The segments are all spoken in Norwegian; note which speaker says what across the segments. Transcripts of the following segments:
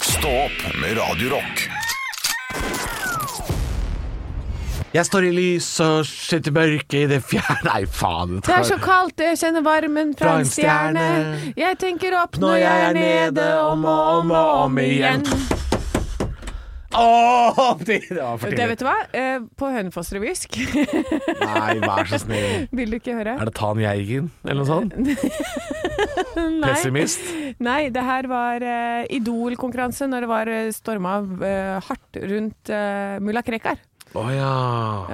Speaker 1: Stå opp med Radio Rock.
Speaker 2: Jeg står i lys og ser til mørket i det fjerne Nei, faen.
Speaker 3: Det er så kaldt, jeg kjenner varmen fra en stjerne. Jeg tenker opp når jeg er nede, om og om og om igjen.
Speaker 2: Åh, det, det var for
Speaker 3: Det
Speaker 2: tidlig.
Speaker 3: vet du hva? Eh, På Hønefoss-revysk
Speaker 2: Nei, vær så snill.
Speaker 3: Vil du ikke høre?
Speaker 2: Er det Tan Jeigen eller noe sånt?
Speaker 3: Nei.
Speaker 2: Pessimist?
Speaker 3: Nei, det her var eh, Idol-konkurranse når det var eh, storma eh, hardt rundt eh, mulla Krekar.
Speaker 2: Å ja.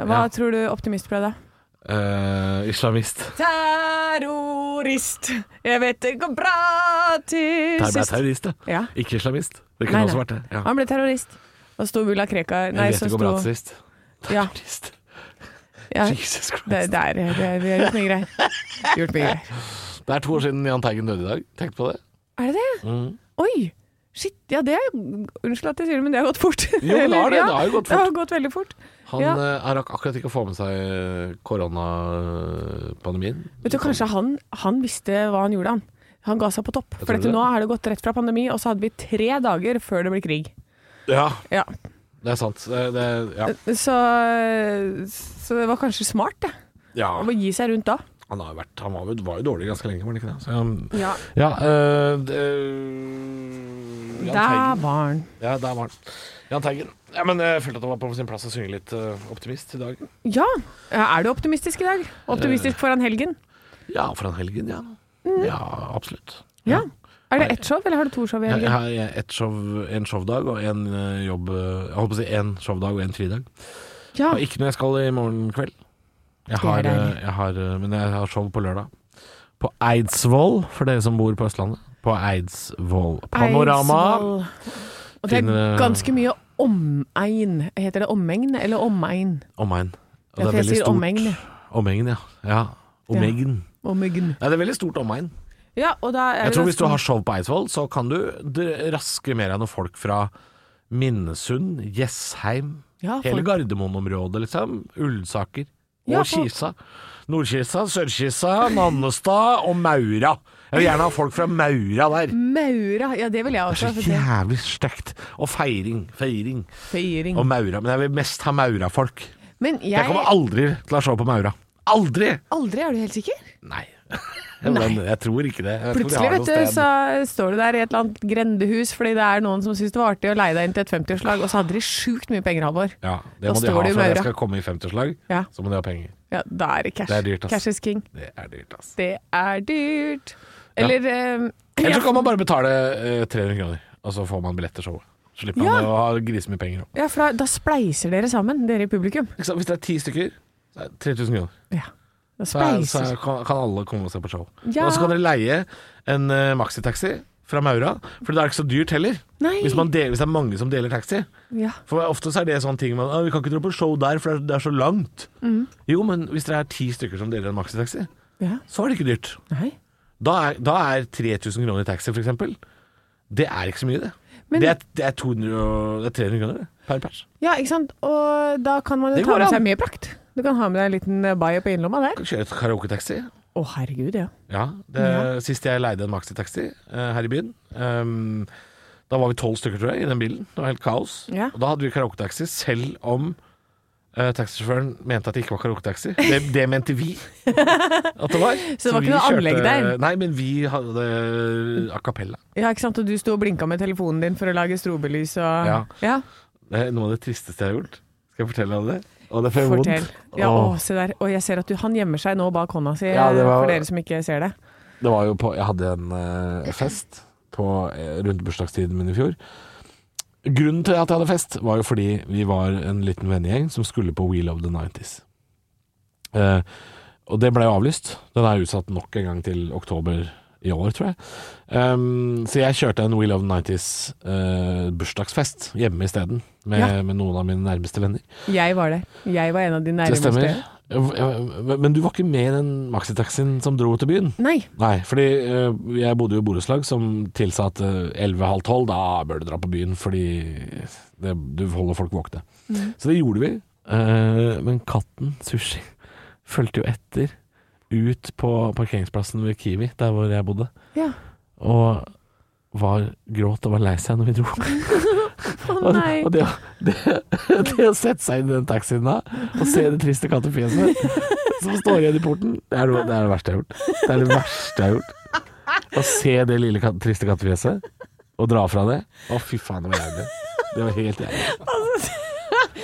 Speaker 3: Hva
Speaker 2: ja.
Speaker 3: tror du optimist ble da?
Speaker 2: Eh, islamist.
Speaker 3: Terrorist, jeg vet det går bra til
Speaker 2: Det ble
Speaker 3: sist.
Speaker 2: terrorist, ja.
Speaker 3: Ja.
Speaker 2: Ikke islamist. Det
Speaker 3: Nei,
Speaker 2: kunne også
Speaker 3: nei.
Speaker 2: vært det. Ja.
Speaker 3: Han ble terrorist. Og sto mulla Krekar Nei,
Speaker 2: Jeg vet
Speaker 3: så
Speaker 2: det går bra til
Speaker 3: sto
Speaker 2: sist.
Speaker 3: Ja.
Speaker 2: Terrorist.
Speaker 3: ja.
Speaker 2: Jesus Christ.
Speaker 3: Det, det er, det er, vi har gjort mye greier. Gjort mye greier.
Speaker 2: Det er to år siden Jahn Teigen døde i dag. Tenk på det. Mm.
Speaker 3: Er det det? Oi! Shit. Ja, det er Unnskyld at jeg sier det, men det har gått fort.
Speaker 2: Jo, men det har det.
Speaker 3: Ja,
Speaker 2: Det har jo gått
Speaker 3: Det
Speaker 2: fort.
Speaker 3: har gått veldig fort.
Speaker 2: Han
Speaker 3: Ja.
Speaker 2: eh, er ak akkurat ikke å få med seg eh, koronapandemien.
Speaker 3: Vet du, Kanskje han, han visste hva han gjorde, han. Han ga seg på topp. For
Speaker 2: tror
Speaker 3: dette,
Speaker 2: det.
Speaker 3: nå har det gått rett fra pandemi, og så hadde vi tre dager før det ble krig.
Speaker 2: Ja,
Speaker 3: Ja.
Speaker 2: det er sant. Det, det, ja.
Speaker 3: Så, så det var kanskje smart, det.
Speaker 2: ja.
Speaker 3: Å gi seg rundt da.
Speaker 2: Han, har jo vært, han var, jo, var jo dårlig ganske lenge, var han ikke det? Så, um,
Speaker 3: Ja.
Speaker 2: ja, eh, det, eh, Jahn
Speaker 3: Der
Speaker 2: Teigen.
Speaker 3: var han.
Speaker 2: Ja, der var han. Jahn Teigen. Ja, men jeg følte at det var på sin plass å synge litt eh, optimist i dag.
Speaker 3: Ja. Er du optimistisk i dag?
Speaker 2: Eh.
Speaker 3: Optimistisk foran helgen?
Speaker 2: Ja, foran helgen, ja. Ja, absolutt.
Speaker 3: Ja. Er det ett show, eller har du to show i
Speaker 2: Jeg, jeg
Speaker 3: helgen?
Speaker 2: har et show, en showdag og en eh, jobb eh, Jeg holdt på å si en showdag og en fridag.
Speaker 3: Ja.
Speaker 2: Og ikke når jeg skal i morgen kveld. Jeg
Speaker 3: er
Speaker 2: har,
Speaker 3: deilig.
Speaker 2: eh, jeg har, eh, men jeg har show på lørdag. På Eidsvoll, for dere som bor på Østlandet. På Eidsvoll. Panorama.
Speaker 3: Eidsvoll. Og det
Speaker 2: Finner-
Speaker 3: er ganske mye omegn. Heter det omegn eller omegn?
Speaker 2: Omegn. Og
Speaker 3: Ja, for jeg sier omegn, ja.
Speaker 2: Omegn, ja. ja. Omegn.
Speaker 3: Omegn.
Speaker 2: Ja, det er veldig stort omegn.
Speaker 3: Ja, og da er
Speaker 2: Jeg
Speaker 3: det
Speaker 2: tror hvis du
Speaker 3: ganske-
Speaker 2: har show på Eidsvoll, så kan du d- raske mer av noen folk fra Minnesund, Jessheim,
Speaker 3: Ja,
Speaker 2: hele
Speaker 3: folk-
Speaker 2: Gardermoen-området, liksom. Ullensaker. Og
Speaker 3: Ja, folk-
Speaker 2: Kisa. Nordkisa, Sørkisa, Nannestad og Maura. Jeg vil gjerne ha folk fra Maura der.
Speaker 3: Maura. Ja, det vil jeg
Speaker 2: Det
Speaker 3: også.
Speaker 2: er
Speaker 3: for
Speaker 2: så jævlig sterkt. Og feiring, feiring.
Speaker 3: Feiring.
Speaker 2: Og Maura. Men jeg vil mest ha Maura-folk.
Speaker 3: Men jeg,
Speaker 2: Jeg kommer aldri til å se på Maura. Aldri!
Speaker 3: aldri, er du helt sikker?
Speaker 2: Nei. Men jeg tror ikke det. Jeg tror de
Speaker 3: Plutselig
Speaker 2: har
Speaker 3: vet
Speaker 2: noe sted.
Speaker 3: du, så står du der i et eller annet grendehus fordi det er noen som syns det var artig å leie deg inn til et 50-årslag, og så hadde de sjukt mye penger, Halvor.
Speaker 2: Ja, det
Speaker 3: Da
Speaker 2: må de
Speaker 3: står
Speaker 2: ha
Speaker 3: det jo
Speaker 2: for at jeg
Speaker 3: Maura.
Speaker 2: skal komme i 50-årslag.
Speaker 3: Ja.
Speaker 2: Så må de ha penger.
Speaker 3: Ja, da er det cash.
Speaker 2: Det er dyrt, ass.
Speaker 3: Cash is king.
Speaker 2: Det er dyrt, altså.
Speaker 3: Det er dyrt. Eller eh,
Speaker 2: Eller
Speaker 3: ja.
Speaker 2: så kan man bare betale eh, 300 kroner, og så får man billett til showet. Slipper
Speaker 3: Ja.
Speaker 2: man å ha grisemye penger. også.
Speaker 3: ja, for da, da spleiser dere sammen, dere i publikum.
Speaker 2: Ikke sant? Hvis det er ti stykker, så er det 3000 kroner.
Speaker 3: Ja. Da
Speaker 2: Så, er, så
Speaker 3: spleiser
Speaker 2: er, kan, kan alle komme og se på show.
Speaker 3: Ja.
Speaker 2: Og så kan dere leie en eh, maxitaxi fra Maura, for det er ikke så dyrt heller.
Speaker 3: Nei.
Speaker 2: Hvis, man del, hvis det er mange som deler taxi.
Speaker 3: Ja.
Speaker 2: For ofte så er det sånne ting man «Ah, Vi kan ikke dra på show der, for det er, det er så langt. Jo, men hvis dere er ti stykker som deler en maxitaxi,
Speaker 3: ja.
Speaker 2: så er det ikke dyrt.
Speaker 3: Nei.
Speaker 2: Da er, da er 3000 kroner i taxi, for eksempel. Det er ikke så mye, det.
Speaker 3: Men-
Speaker 2: det, er, det, er 200, og- det er 300 kroner det, per pers.
Speaker 3: Ja, ikke sant. Og da kan man jo
Speaker 2: Det
Speaker 3: ta
Speaker 2: går
Speaker 3: med
Speaker 2: an.
Speaker 3: seg mye prakt. Du kan ha med deg en liten eh, bayer på innerlomma der.
Speaker 2: Kan kjøre et karaoketaxi.
Speaker 3: Å, herregud, ja.
Speaker 2: Ja, det, Sist jeg leide en maxitaxi eh, her i byen ehm, Da var vi tolv stykker, tror jeg, i den bilen. Det var helt kaos.
Speaker 3: Ja.
Speaker 2: Og da hadde vi karaoketaxi, selv om eh, taxisjåføren mente at det ikke var karaoketaxi. Det, det mente vi at det var.
Speaker 3: Så det var ikke
Speaker 2: vi
Speaker 3: noe anlegg
Speaker 2: kjørte-
Speaker 3: der?
Speaker 2: Nei, men vi hadde a cappella.
Speaker 3: Ja, ikke sant. Og du sto og blinka med telefonen din for å lage strobelys
Speaker 2: Ja.
Speaker 3: og Ja.
Speaker 2: Det er noe av det tristeste jeg har gjort. Skal jeg fortelle deg det? Og det får jeg
Speaker 3: Fortell.
Speaker 2: vondt.
Speaker 3: Ja,
Speaker 2: Åh.
Speaker 3: å, se der. Og jeg ser at du, han gjemmer seg nå bak hånda si,
Speaker 2: Ja, det var-
Speaker 3: for dere som ikke ser det.
Speaker 2: Det var jo på Jeg hadde en eh, fest på, eh, rundt bursdagstiden min i fjor. Grunnen til at jeg hadde fest, var jo fordi vi var en liten vennegjeng som skulle på Wheel of the 90s. Eh, og det ble jo avlyst. Den er utsatt nok en gang til oktober i år, tror jeg. Ehm, så jeg kjørte en Wheel of the 90s eh, bursdagsfest hjemme isteden, med,
Speaker 3: Ja.
Speaker 2: med noen av mine nærmeste venner. Eh,
Speaker 3: Jeg var der. Jeg var en av de
Speaker 2: Det
Speaker 3: nærmeste.
Speaker 2: stemmer. Men du var ikke med i den maxitaxien som dro til byen?
Speaker 3: Nei.
Speaker 2: Nei, fordi eh, jeg bodde jo i borettslag som tilsa at eh, 11.30, da bør du dra på byen, fordi det, du holder folk våkne. Så det gjorde vi. eh, men katten, Sushi, fulgte jo etter ut på parkeringsplassen ved Kiwi, der hvor jeg bodde,
Speaker 3: Ja.
Speaker 2: og var gråt og var lei seg når vi dro.
Speaker 3: Å
Speaker 2: Og,
Speaker 3: nei.
Speaker 2: og det, å- det, det å sette seg inn i den taxien da, og se det triste kattefjeset som står igjen i porten, det er, noe, det er det verste jeg har gjort. Det er det verste jeg har gjort. Å se det lille kat triste kattefjeset, og dra fra det. Å, fy faen, det var jævlig. Det var helt jævlig.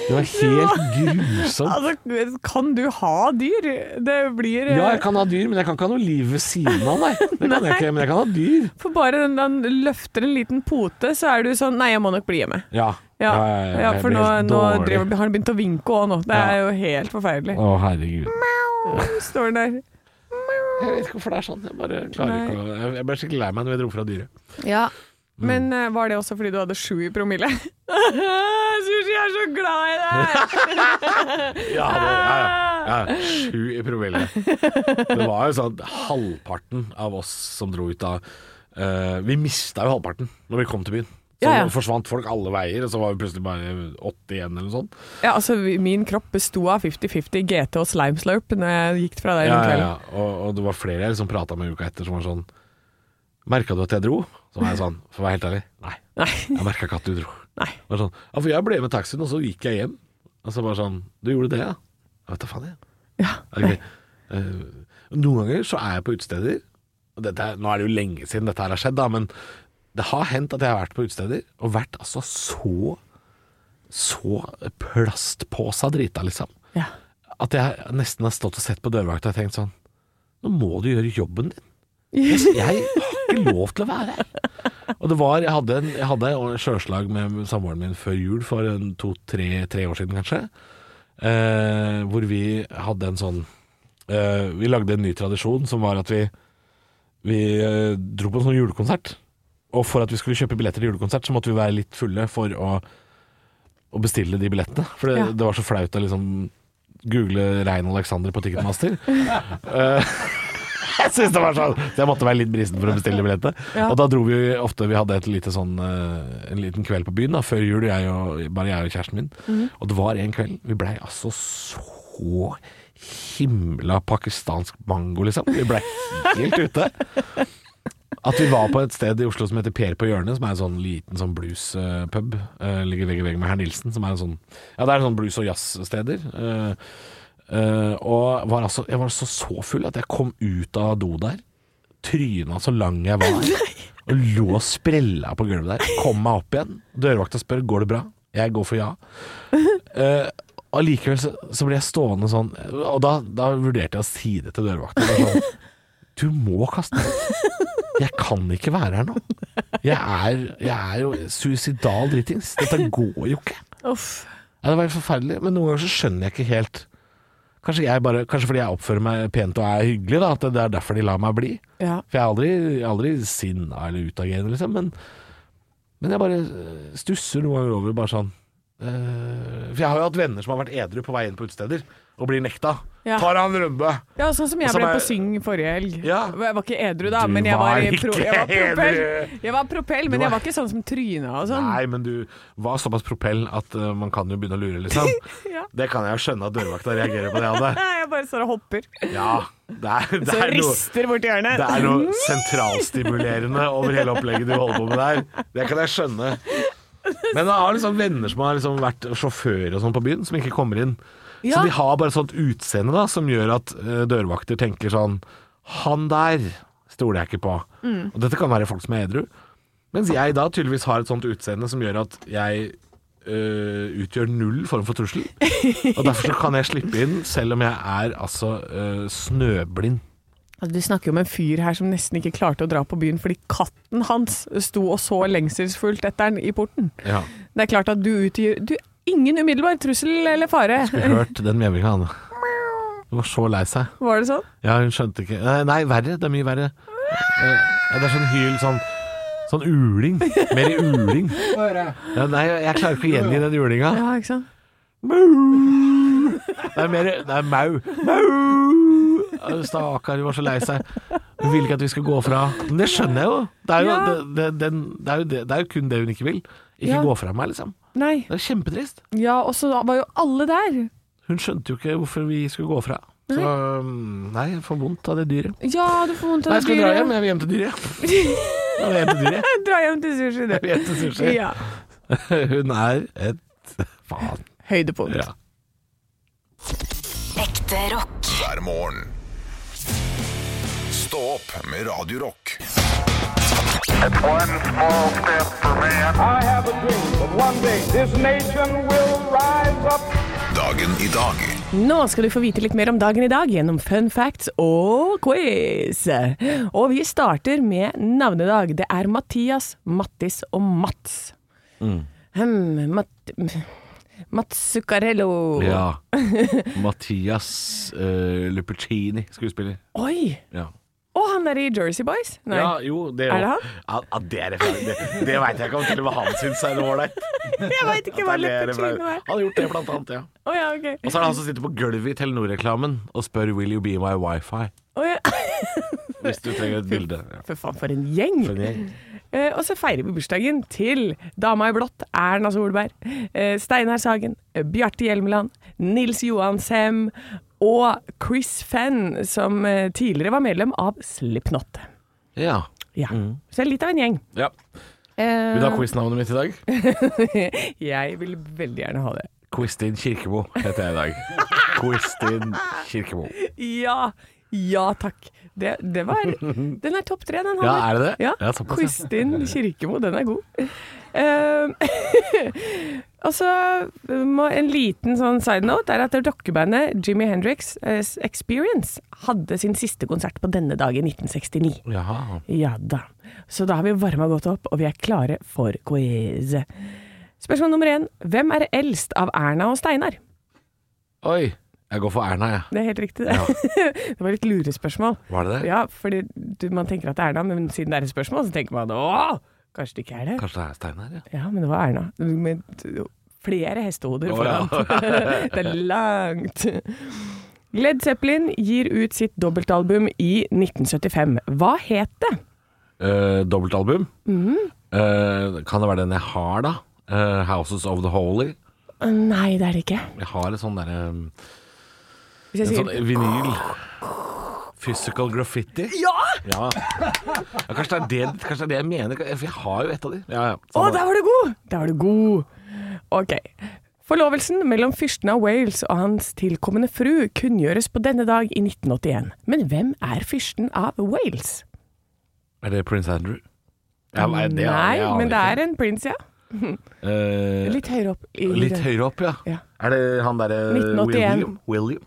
Speaker 2: Det var helt grusomt.
Speaker 3: Altså, kan du ha dyr? Det blir eh,
Speaker 2: Ja, jeg kan ha dyr, men jeg kan ikke ha noe liv ved siden av, nei. Det kan jeg ikke, men jeg kan ha dyr.
Speaker 3: For bare den, den løfter en liten pote, så er du sånn Nei, jeg må nok bli hjemme.
Speaker 2: Ja, ja,
Speaker 3: Ja,
Speaker 2: ja,
Speaker 3: ja
Speaker 2: jeg
Speaker 3: for
Speaker 2: blir
Speaker 3: nå,
Speaker 2: helt
Speaker 3: nå
Speaker 2: dårlig.
Speaker 3: driver, har han begynt å vinke òg nå. Det er jo helt forferdelig.
Speaker 2: Å, herregud.
Speaker 3: Står han der.
Speaker 2: Jeg vet ikke hvorfor det er sånn. Jeg bare klarer
Speaker 3: Nei.
Speaker 2: ikke å jeg- Jeg ble skikkelig lei meg når jeg dro fra dyret.
Speaker 3: Ja. Men eh, var det også fordi du hadde sju i promille? Sushi er så glad i deg!
Speaker 2: Ja, det, ja,
Speaker 3: Ah.
Speaker 2: ja. ja. Sju i promille. Det var jo sånn halvparten av oss som dro ut av eh, Vi mista jo halvparten når vi kom til byen. Så
Speaker 3: Ja, ja.
Speaker 2: forsvant folk alle veier, og så var vi plutselig bare 80 igjen eller noe sånt.
Speaker 3: Ja, altså, vi- min kropp besto av 50-50 GT og slime slurp når jeg gikk fra deg
Speaker 2: Ja,
Speaker 3: den
Speaker 2: ja,
Speaker 3: kvelden.
Speaker 2: ja. Og, og det var flere jeg liksom prata med uka etter som var sånn Merka du at jeg dro? Så var jeg sånn, for å være helt ærlig, nei.
Speaker 3: Nei.
Speaker 2: Jeg merka ikke at du dro.
Speaker 3: Nei.
Speaker 2: Bare sånn, ja, for jeg ble med taxien, og så gikk jeg hjem. Og så bare sånn Du gjorde det, ja? Jeg vet da faen, jeg.
Speaker 3: Ja,
Speaker 2: Er det gøy? Eh, noen ganger så er jeg på utesteder. Og dette, er- nå er det jo lenge siden dette her har skjedd, da, men det har hendt at jeg har vært på utesteder og vært altså så Så plastpåsa drita, liksom.
Speaker 3: ja.
Speaker 2: At jeg nesten har stått og sett på dørvakta og tenkt sånn Nå må du gjøre jobben din.
Speaker 3: Yes.
Speaker 2: Jeg har ikke lov til å være her. Og det var, Jeg hadde, en, jeg hadde en sjøslag med samboeren min før jul for en to-tre tre år siden, kanskje. Eh, hvor vi hadde en sånn eh, Vi lagde en ny tradisjon som var at vi, vi eh, dro på en sånn julekonsert. Og for at vi skulle kjøpe billetter til julekonsert, så måtte vi være litt fulle for å, å bestille de billettene. For det,
Speaker 3: Ja.
Speaker 2: det var så flaut å liksom google Rein Alexander på Ticketmaster. Eh, Jeg synes det var sånn Så jeg måtte være litt brisen for å bestille billettet.
Speaker 3: Ja.
Speaker 2: Og da dro vi jo ofte Vi hadde et lite sånn eh, en liten kveld på byen da før jul, jeg og, bare jeg og kjæresten min. Og det var en kveld Vi blei altså så himla pakistansk mango, liksom. Vi blei helt ute. At vi var på et sted i Oslo som heter Per på hjørnet, som er en sånn liten sånn blues-pub. eh, ligger vegg i vegg med Herr Nilsen, som er en sånn Ja, det er en sånn blues- og jazzsteder. Uh, Eh, og var altså, jeg var altså så full at jeg kom ut av do der, tryna så lang jeg var, og lå og sprella på gulvet der. Kom meg opp igjen. Dørvakta spør går det bra. Jeg går for ja. Eh, Og Allikevel så, så ble jeg stående sånn, og da, da vurderte jeg å si det til dørvakta. Jeg var Sånn, du må kaste meg ut. Jeg kan ikke være her nå. Jeg er, jeg er jo suicidal dritings. Dette går jo ikke.
Speaker 3: Uff.
Speaker 2: Ja, det var helt forferdelig, men noen ganger så skjønner jeg ikke helt Kanskje, jeg bare, kanskje fordi jeg oppfører meg pent og er hyggelig, da, at det er derfor de lar meg bli.
Speaker 3: Ja.
Speaker 2: For jeg er aldri, jeg er aldri sinna eller utagerende, liksom, men, men jeg bare øh, stusser noen ganger over bare sånn øh, For jeg har jo hatt venner som har vært edru på vei inn på utesteder, og blir nekta.
Speaker 3: Ja.
Speaker 2: Tar han rømbe?
Speaker 3: ja, sånn som jeg
Speaker 2: Og så
Speaker 3: ble
Speaker 2: bare-
Speaker 3: på Syng forrige helg.
Speaker 2: Ja.
Speaker 3: Jeg var ikke edru da,
Speaker 2: Du
Speaker 3: men jeg var,
Speaker 2: var
Speaker 3: i pro
Speaker 2: ikke
Speaker 3: jeg var propell.
Speaker 2: edru.
Speaker 3: Jeg var propell,
Speaker 2: Du
Speaker 3: men jeg
Speaker 2: var-
Speaker 3: var ikke sånn som tryna og sånn.
Speaker 2: Nei, men du var såpass propell at øh, man kan jo begynne å lure, liksom.
Speaker 3: Ja.
Speaker 2: Det kan jeg jo skjønne at dørvakta reagerer på det, Anne.
Speaker 3: Jeg bare står og hopper.
Speaker 2: Ja, det er, det
Speaker 3: Så
Speaker 2: er noe
Speaker 3: rister borti hjørnet. Mm.
Speaker 2: Det er noe sentralstimulerende over hele opplegget du holder på med der. Det kan jeg skjønne. Men jeg har liksom venner som har liksom vært sjåfører og sånn på byen, som ikke kommer inn.
Speaker 3: Ja.
Speaker 2: Så de har bare sånt utseende da, som gjør at eh, dørvakter tenker sånn Han der stoler jeg ikke på. Og dette kan være folk som er edru. Mens jeg da tydeligvis har et sånt utseende som gjør at jeg øh, utgjør null form for trussel. Og derfor så kan jeg slippe inn, selv om jeg er altså øh, snøblind.
Speaker 3: Altså, Du snakker jo om en fyr her som nesten ikke klarte å dra på byen fordi katten hans sto og så lengselsfullt etter den i porten.
Speaker 2: Ja.
Speaker 3: Det er klart at du utgjør du, Ingen umiddelbar trussel eller fare.
Speaker 2: Jeg har hørt den mjauinga, Anne. Hun var så lei seg.
Speaker 3: Var det sånn?
Speaker 2: Ja, hun skjønte ikke Nei, nei verre. Det er mye verre. Eh, ja, Det er sånn hyl, sånn Sånn uling. Mer i uling. Ja, nei, jeg klarer ikke å gjengi den ulinga.
Speaker 3: Ja, ikke sant?
Speaker 2: Det er mer Det er mau. Mau! Ja, Stakkar, hun var så lei seg. Hun vil ikke at vi skal gå fra. Men det skjønner jeg jo. Det er jo,
Speaker 3: Ja.
Speaker 2: det, det, den, det er jo, det, det er jo kun det hun ikke vil. Ikke
Speaker 3: Ja.
Speaker 2: gå fra meg, liksom.
Speaker 3: Nei.
Speaker 2: Det er kjempetrist.
Speaker 3: Ja, og så var jo alle der.
Speaker 2: Hun skjønte jo ikke hvorfor vi skulle gå fra. Så um, nei, jeg får vondt av det dyret.
Speaker 3: Ja, du får vondt
Speaker 2: Nei,
Speaker 3: av
Speaker 2: jeg skulle dra hjem, jeg vil hjem til dyret. Jeg vil hjem til dyret.
Speaker 3: Dra hjem til sushi,
Speaker 2: Jeg vil hjem til
Speaker 3: du.
Speaker 2: sushi.
Speaker 3: Ja.
Speaker 2: Hun er et faen.
Speaker 3: Høydepunkt.
Speaker 2: Ja.
Speaker 4: Ekte rock.
Speaker 1: hver morgen. Stå opp med Radio Rock.
Speaker 5: It's one small step for man.
Speaker 6: I have a dream that one day this nation will rise up.
Speaker 1: Dagen i dag
Speaker 3: Nå skal du få vite litt mer om dagen i dag gjennom fun facts og quiz. Og vi starter med navnedag. Det er Mathias, Mattis og Mats.
Speaker 2: Mm.
Speaker 3: Hmm, Mat Mats Zuccarello.
Speaker 2: Ja. Mathias uh, Lupertini, skuespiller.
Speaker 3: Oi!
Speaker 2: Ja.
Speaker 3: Og han er i Jersey Boys. Nei.
Speaker 2: Ja, jo, det
Speaker 3: Er det han?
Speaker 2: Ja, ja, det er referanse. Det, det veit jeg ikke om til og med han syns er ålreit.
Speaker 3: Jeg veit ikke hva
Speaker 2: At det er referanse.
Speaker 3: Lepetuno er.
Speaker 2: Han har gjort det, blant annet. Ja.
Speaker 3: Å ja, ok.
Speaker 2: Og så er det han som sitter på gulvet i Telenor-reklamen og spør 'Will you be my wifi?'
Speaker 3: Å ja.
Speaker 2: hvis du trenger et bilde. Ja.
Speaker 3: For faen, for en gjeng! Eh, og så feirer vi bursdagen til dama i blått, Erna Solberg, eh, Steinar Sagen, eh, Bjarte Hjelmeland, Nils Johan Sem og Chris Fenn, som eh, tidligere var medlem av Slipknot.
Speaker 2: ja.
Speaker 3: Ja. Så det er litt av en gjeng.
Speaker 2: ja.
Speaker 3: Eh,
Speaker 2: Vil du ha quiznavnet mitt i dag?
Speaker 3: jeg vil veldig gjerne ha det.
Speaker 2: Quistin Kirkemo heter jeg i dag. Quistin Kirkemo.
Speaker 3: Ja! Ja takk. Det, det var Den er topp tre, den.
Speaker 2: Ja,
Speaker 3: Halvor.
Speaker 2: er det det?
Speaker 3: Ja.
Speaker 2: Ja, såpass, ja.
Speaker 3: Kristin Kirkemo, den er god. Eh, og så må en liten sånn side note er at rockebandet Jimmy Hendrix eh, Experience hadde sin siste konsert på denne dag i 1969.
Speaker 2: Jaha.
Speaker 3: Ja da. Så da har vi varma godt opp, og vi er klare for quiz. Spørsmål nummer én. Hvem er eldst av Erna og Steinar?
Speaker 2: Oi. Jeg går for Erna, jeg.
Speaker 3: Det er helt riktig, det. det var litt lurespørsmål.
Speaker 2: Var det det?
Speaker 3: Ja, fordi du, man tenker at det er Erna, men siden det er et spørsmål, så tenker man åh, kanskje det ikke er det.
Speaker 2: Kanskje det er Steinar, ja.
Speaker 3: Ja, men det var Erna. Med t- flere hestehoder
Speaker 2: Å, ja.
Speaker 3: foran. det er langt. Led Zeppelin gir ut sitt dobbeltalbum i 1975. Hva het det?
Speaker 2: Eh, dobbeltalbum.
Speaker 3: Mhm.
Speaker 2: Eh, kan det være den jeg har, da? Eh, Houses of the Holy.
Speaker 3: Nei, det er det ikke.
Speaker 2: Jeg har et sånn derre um,
Speaker 3: Hvis jeg
Speaker 2: En sånn
Speaker 3: sier
Speaker 2: vinyl. Physical graffiti.
Speaker 3: Ja!
Speaker 2: Ja. ja kanskje, det er det, kanskje det er det jeg mener. For jeg har jo et av de. Ja, ja.
Speaker 3: Å,
Speaker 2: Samme det.
Speaker 3: der var du god! Der var du god. Ok. Forlovelsen mellom fyrsten av Wales og hans tilkommende fru kunngjøres på denne dag i 1981. Men hvem er fyrsten av Wales?
Speaker 2: Er det Prince Andrew? Ja, nei, det-
Speaker 3: Nei,
Speaker 2: jeg aner
Speaker 3: men det
Speaker 2: ikke.
Speaker 3: er en prins, ja.
Speaker 2: Eh,
Speaker 3: Litt høyere opp. i-
Speaker 2: litt høyere opp, ja.
Speaker 3: Ja.
Speaker 2: Er det han derre
Speaker 3: 1981.
Speaker 2: William? William?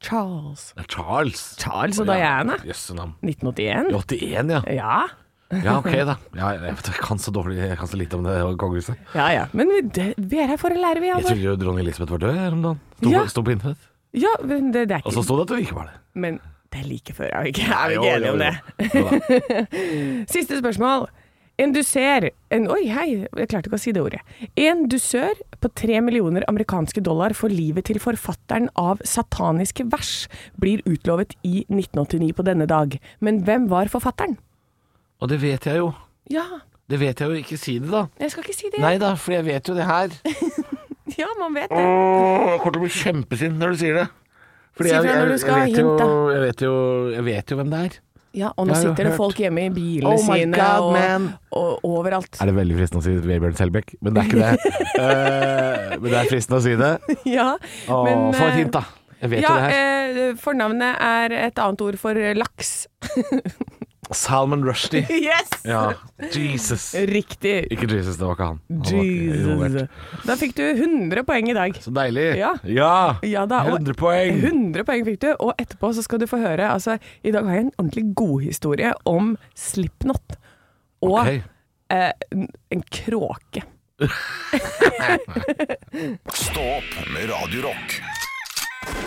Speaker 3: Charles.
Speaker 2: Nei, Charles.
Speaker 3: Charles og
Speaker 2: Ja,
Speaker 3: Diana.
Speaker 2: Jøsse navn. I
Speaker 3: 1981?
Speaker 2: 81, ja.
Speaker 3: Ja.
Speaker 2: Ja, ok, da. Ja, jeg, vet, jeg kan så dårlig Jeg kan så lite om det kongehuset.
Speaker 3: ja, ja. Men vi, det, vi er her for å lære, vi,
Speaker 2: Jeg
Speaker 3: Halvor.
Speaker 2: trodde jo dronning Elisabeth var død her om dagen. Sto,
Speaker 3: Ja.
Speaker 2: sto på internett.
Speaker 3: Ja, men det, det er
Speaker 2: Og så
Speaker 3: ikke
Speaker 2: sto det at hun ikke var det.
Speaker 3: Men det er like før, er vi ikke, er vi ikke enige om det?
Speaker 2: Altså, Jo da.
Speaker 3: Siste spørsmål. En dusør en, Oi, hei, jeg klarte ikke å si det ordet. En dusør på tre millioner amerikanske dollar for livet til forfatteren av sataniske vers blir utlovet i 1989 på denne dag. Men hvem var forfatteren?
Speaker 2: Og det vet jeg jo.
Speaker 3: Ja,
Speaker 2: Det vet jeg jo. Ikke si det, da.
Speaker 3: jeg skal ikke si det.
Speaker 2: Nei da, for jeg vet jo det her.
Speaker 3: Ja, man vet det.
Speaker 2: Åh, jeg kommer til å bli kjempesint når du sier det. Fordi
Speaker 3: Si fra når du skal ha
Speaker 2: jeg, vet
Speaker 3: hint,
Speaker 2: jo,
Speaker 3: da.
Speaker 2: jeg, vet jo, jeg vet jo hvem det er.
Speaker 3: Ja, og nå
Speaker 2: Jeg har jo
Speaker 3: sitter det
Speaker 2: hørt.
Speaker 3: folk hjemme i bilene
Speaker 2: Oh my
Speaker 3: sine
Speaker 2: God, man.
Speaker 3: og, og overalt.
Speaker 2: Er det veldig fristende å si Vebjørn Selbekk, men det er ikke det. Eh, men det er fristende å si det.
Speaker 3: Ja,
Speaker 2: Åh,
Speaker 3: men,
Speaker 2: få et
Speaker 3: eh,
Speaker 2: hint, da. Jeg vet jo det her.
Speaker 3: ja, eh, fornavnet er et annet ord for eh, laks. eh,
Speaker 2: Salman Rushdie.
Speaker 3: Yes!
Speaker 2: Ja. Jesus.
Speaker 3: Riktig.
Speaker 2: Ikke Jesus, det var ikke han. han var ikke
Speaker 3: Jesus.
Speaker 2: involvert.
Speaker 3: Da fikk du 100 poeng i dag.
Speaker 2: Så deilig.
Speaker 3: Ja. Ja da, og-
Speaker 2: 100 poeng.
Speaker 3: 100 poeng fikk du, og etterpå så skal du få høre altså, I dag har jeg en ordentlig god historie om Slipknot og
Speaker 2: Ok.
Speaker 3: eh, en- en kråke.
Speaker 1: Stå opp med Radio Rock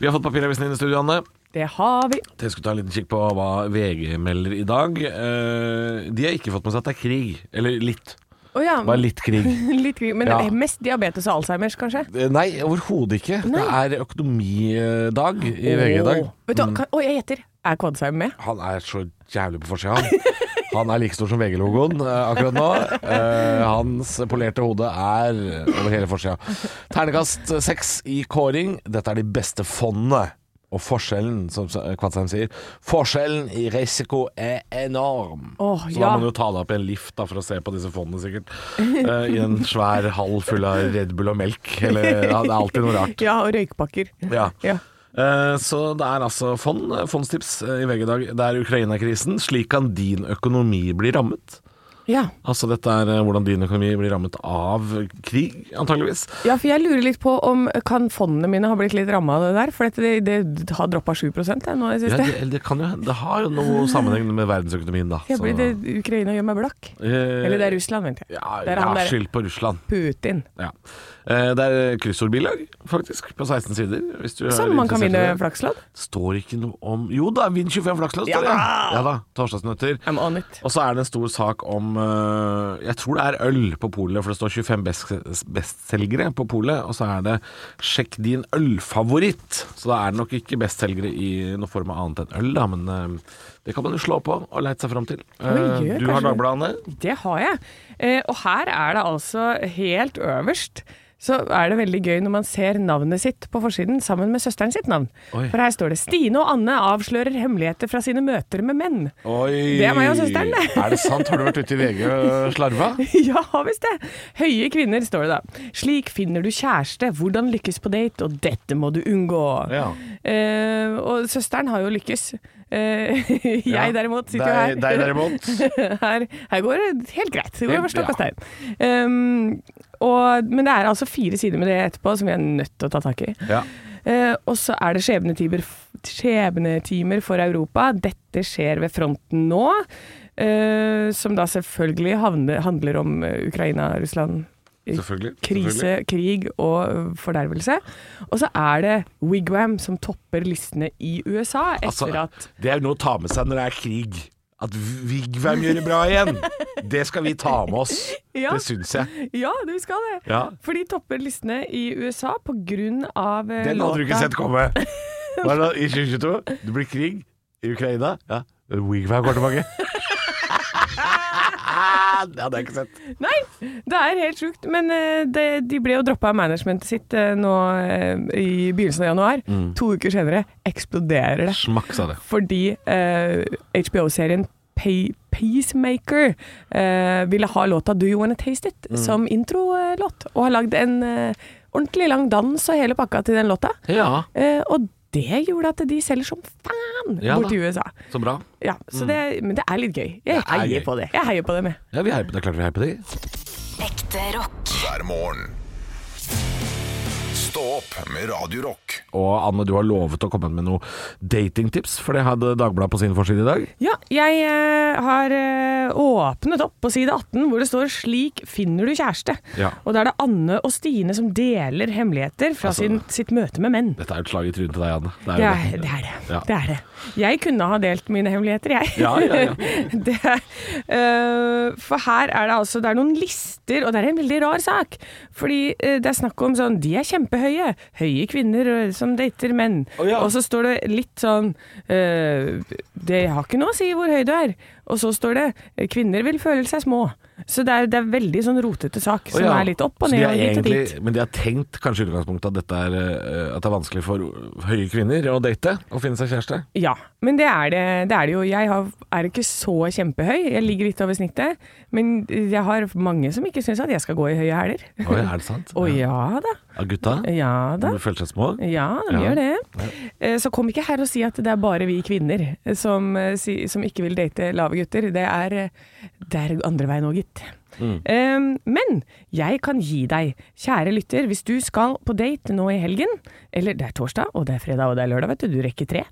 Speaker 2: Vi har fått papiravisen inn i studio, Anne.
Speaker 3: Det har vi.
Speaker 2: Jeg skulle ta en liten kikk på hva VG melder i dag. Eh, de har ikke fått med seg at det er krig. Eller litt.
Speaker 3: Å ja.
Speaker 2: Bare litt krig.
Speaker 3: Litt gøy, men
Speaker 2: Ja.
Speaker 3: det er mest diabetes og Alzheimers, kanskje?
Speaker 2: Eh, Nei, overhodet ikke. Det er økonomidag i VG i dag. Mm.
Speaker 3: Åh, Vet du, hva, kan, å, jeg gjetter. Er Kvadsheim med?
Speaker 2: Han er så jævlig på forsida, han. Han er like stor som VG-logoen eh, akkurat nå. Eh, hans polerte hode er over hele forsida. Ternekast seks i kåring. Dette er de beste fondene. Og forskjellen, som Kvadsheim sier, forskjellen i risiko er enorm.
Speaker 3: Åh,
Speaker 2: Så da
Speaker 3: ja.
Speaker 2: må du jo ta deg opp i en lift da, for å se på disse fondene, sikkert. Eh, I en svær hall full av Red Bull og melk. Eller, ja, det er alltid noe rart.
Speaker 3: Ja, og røykpakker.
Speaker 2: Ja.
Speaker 3: Ja.
Speaker 2: Eh, Så det er altså fond, fondstips eh, i VG i dag. Det er Ukraina-krisen. Slik kan din økonomi bli rammet.
Speaker 3: Ja.
Speaker 2: Altså dette er eh, hvordan din økonomi blir rammet av krig, antageligvis.
Speaker 3: ja, for jeg lurer litt på om kan fondene mine ha blitt litt ramma av det der? For dette, det, det har droppa 7 jeg, nå i det
Speaker 2: Ja,
Speaker 3: siste.
Speaker 2: det, eller det, kan jo, hende- det har jo noe sammenheng med verdensøkonomien, da.
Speaker 3: Jeg
Speaker 2: Så-
Speaker 3: blir det Ukraina gjør meg blakk.
Speaker 2: Eh,
Speaker 3: Eller det er Russland, vent. jeg.
Speaker 2: Ja,
Speaker 3: Det er han
Speaker 2: ja
Speaker 3: der.
Speaker 2: skyld på Russland.
Speaker 3: Putin.
Speaker 2: Ja. Eh, Det er kryssordbilag, faktisk, på 16 sider. Hvis du er
Speaker 3: Som man kan
Speaker 2: interessert i
Speaker 3: vinne
Speaker 2: det.
Speaker 3: flakslodd.
Speaker 2: Står ikke noe om Jo da, vinn 25 flakslodd, står det!
Speaker 3: Ja da!
Speaker 2: Ja da, torsdagsnøtter.
Speaker 3: I'm on it.
Speaker 2: Og så er det en stor sak om øh, Jeg tror det er øl på polet, for det står 25 best- bestselgere på polet. Og så er det 'sjekk din ølfavoritt'. Så da er det nok ikke bestselgere i noe form av annet enn øl, da. Men øh, det kan man jo slå på og leite seg fram til.
Speaker 3: Oi,
Speaker 2: Eh,
Speaker 3: gjør
Speaker 2: du har
Speaker 3: kanskje det.
Speaker 2: Dagbladene.
Speaker 3: Det har jeg. Eh, og her er det altså helt øverst. Så er det veldig gøy når man ser navnet sitt på forsiden sammen med søsteren sitt navn.
Speaker 2: Oi.
Speaker 3: For her står det 'Stine og Anne avslører hemmeligheter fra sine møter med menn'.
Speaker 2: Oi!
Speaker 3: Det er meg og søsteren, det.
Speaker 2: Er det sant? Har du vært ute i VG og slarva?
Speaker 3: ja visst det. Høye kvinner, står det da. 'Slik finner du kjæreste, hvordan lykkes på date, og dette må du unngå'.
Speaker 2: Ja.
Speaker 3: Eh, og søsteren har jo lykkes. Eh, jeg derimot sitter jo her.
Speaker 2: Deg, deg derimot.
Speaker 3: her, her går det helt greit. Det går over stokk
Speaker 2: Ja.
Speaker 3: og stein. Ehm, og, men det er altså fire sider med det etterpå som vi er nødt til å ta tak i.
Speaker 2: Ja.
Speaker 3: Eh, og så er det skjebnetimer, skjebnetimer for Europa. Dette skjer ved fronten nå. eh, som da selvfølgelig havne, handler om eh, Ukraina, Russland,
Speaker 2: Selvfølgelig. selvfølgelig.
Speaker 3: krise, krig og eh, fordervelse. Og så er det Wigwam som topper listene i USA
Speaker 2: Altså,
Speaker 3: etter at
Speaker 2: Det er jo noe å ta med seg når det er krig. At Vigvam gjør det bra igjen! Det skal vi ta med oss.
Speaker 3: Ja.
Speaker 2: Det syns jeg.
Speaker 3: Ja, du skal det!
Speaker 2: Ja.
Speaker 3: For de topper listene i USA på grunn av eh,
Speaker 2: Den hadde du ikke
Speaker 3: låta-
Speaker 2: sett komme. Hva er det, I 2022? Det blir krig i Ukraina. Ja. Wigvam går tilbake. Det hadde jeg ikke sett.
Speaker 3: Nei, det er helt sjukt. Men eh, det, de ble jo droppa av managementet sitt eh, nå eh, i begynnelsen av januar.
Speaker 2: Mm.
Speaker 3: To uker senere eksploderer det.
Speaker 2: Smakk, sa det.
Speaker 3: Fordi eh, HBO-serien Pay Peacemaker eh, ville ha låta Do You Wanna Taste It
Speaker 2: Mm.
Speaker 3: som introlåt. Og har lagd en eh, ordentlig lang dans og hele pakka til den låta.
Speaker 2: Ja,
Speaker 3: Eh, og det gjorde at de selger som faen
Speaker 2: Ja
Speaker 3: borti
Speaker 2: da.
Speaker 3: USA.
Speaker 2: så bra.
Speaker 3: Ja, så det, Men det er litt gøy. Jeg
Speaker 2: er
Speaker 3: heier
Speaker 2: gøy.
Speaker 3: på det. Jeg heier på det med.
Speaker 2: Ja, vi heier på det. Klart vi heier på det.
Speaker 4: Ekte rock.
Speaker 1: hver morgen. Stå opp med Radio Rock.
Speaker 2: Og Anne, du har lovet å komme med noe datingtips, for det hadde Dagbladet på sin forside i dag.
Speaker 3: Ja, jeg eh, har eh, åpnet opp på side 18 hvor det står 'Slik finner du kjæreste'.
Speaker 2: Ja.
Speaker 3: Og da er det Anne og Stine som deler hemmeligheter fra
Speaker 2: Altså-
Speaker 3: sin, sitt møte med menn.
Speaker 2: Dette er jo et slag i trynet til deg, Anne.
Speaker 3: Det er det. Er det.
Speaker 2: Ja.
Speaker 3: det er det. Jeg kunne ha delt mine hemmeligheter, jeg.
Speaker 2: Ja, ja, ja.
Speaker 3: det, eh, for her er det altså Det er noen lister, og det er en veldig rar sak. Fordi eh, det er snakk om sånn De er kjempehøye. Høye kvinner eh, som dater menn.
Speaker 2: Å, ja.
Speaker 3: Og så står det litt sånn eh, Det har ikke noe å si hvor høy du er. Og så står det eh, Kvinner vil føle seg små. Så det er, det er veldig sånn rotete sak, som
Speaker 2: Å ja.
Speaker 3: er litt opp og
Speaker 2: Så
Speaker 3: ned
Speaker 2: de
Speaker 3: og
Speaker 2: er
Speaker 3: hit og
Speaker 2: egentlig-
Speaker 3: dit.
Speaker 2: Men de har tenkt kanskje i utgangspunktet at, dette er, eh, at det er vanskelig for høye kvinner å date og finne seg kjæreste.
Speaker 3: Ja, men det er det, det, er det jo. Jeg har, er ikke så kjempehøy, jeg ligger litt over snittet. Men jeg har mange som ikke syns at jeg skal gå i høye hæler.
Speaker 2: Oi, er det sant?
Speaker 3: Å ja da.
Speaker 2: Ja, gutta,
Speaker 3: Ja da.
Speaker 2: de føler seg små.
Speaker 3: Ja,
Speaker 2: Ja.
Speaker 3: de gjør det. Eh, Så kom ikke her og si at det er bare vi kvinner som, eh, si- som ikke vil date lave gutter. Det er, eh, det er andre veien òg, gitt.
Speaker 2: Mm.
Speaker 3: Eh, Men jeg kan gi deg, kjære lytter, hvis du skal på date nå i helgen Eller det er torsdag, og det er fredag, og det er lørdag, vet du. Du rekker tre.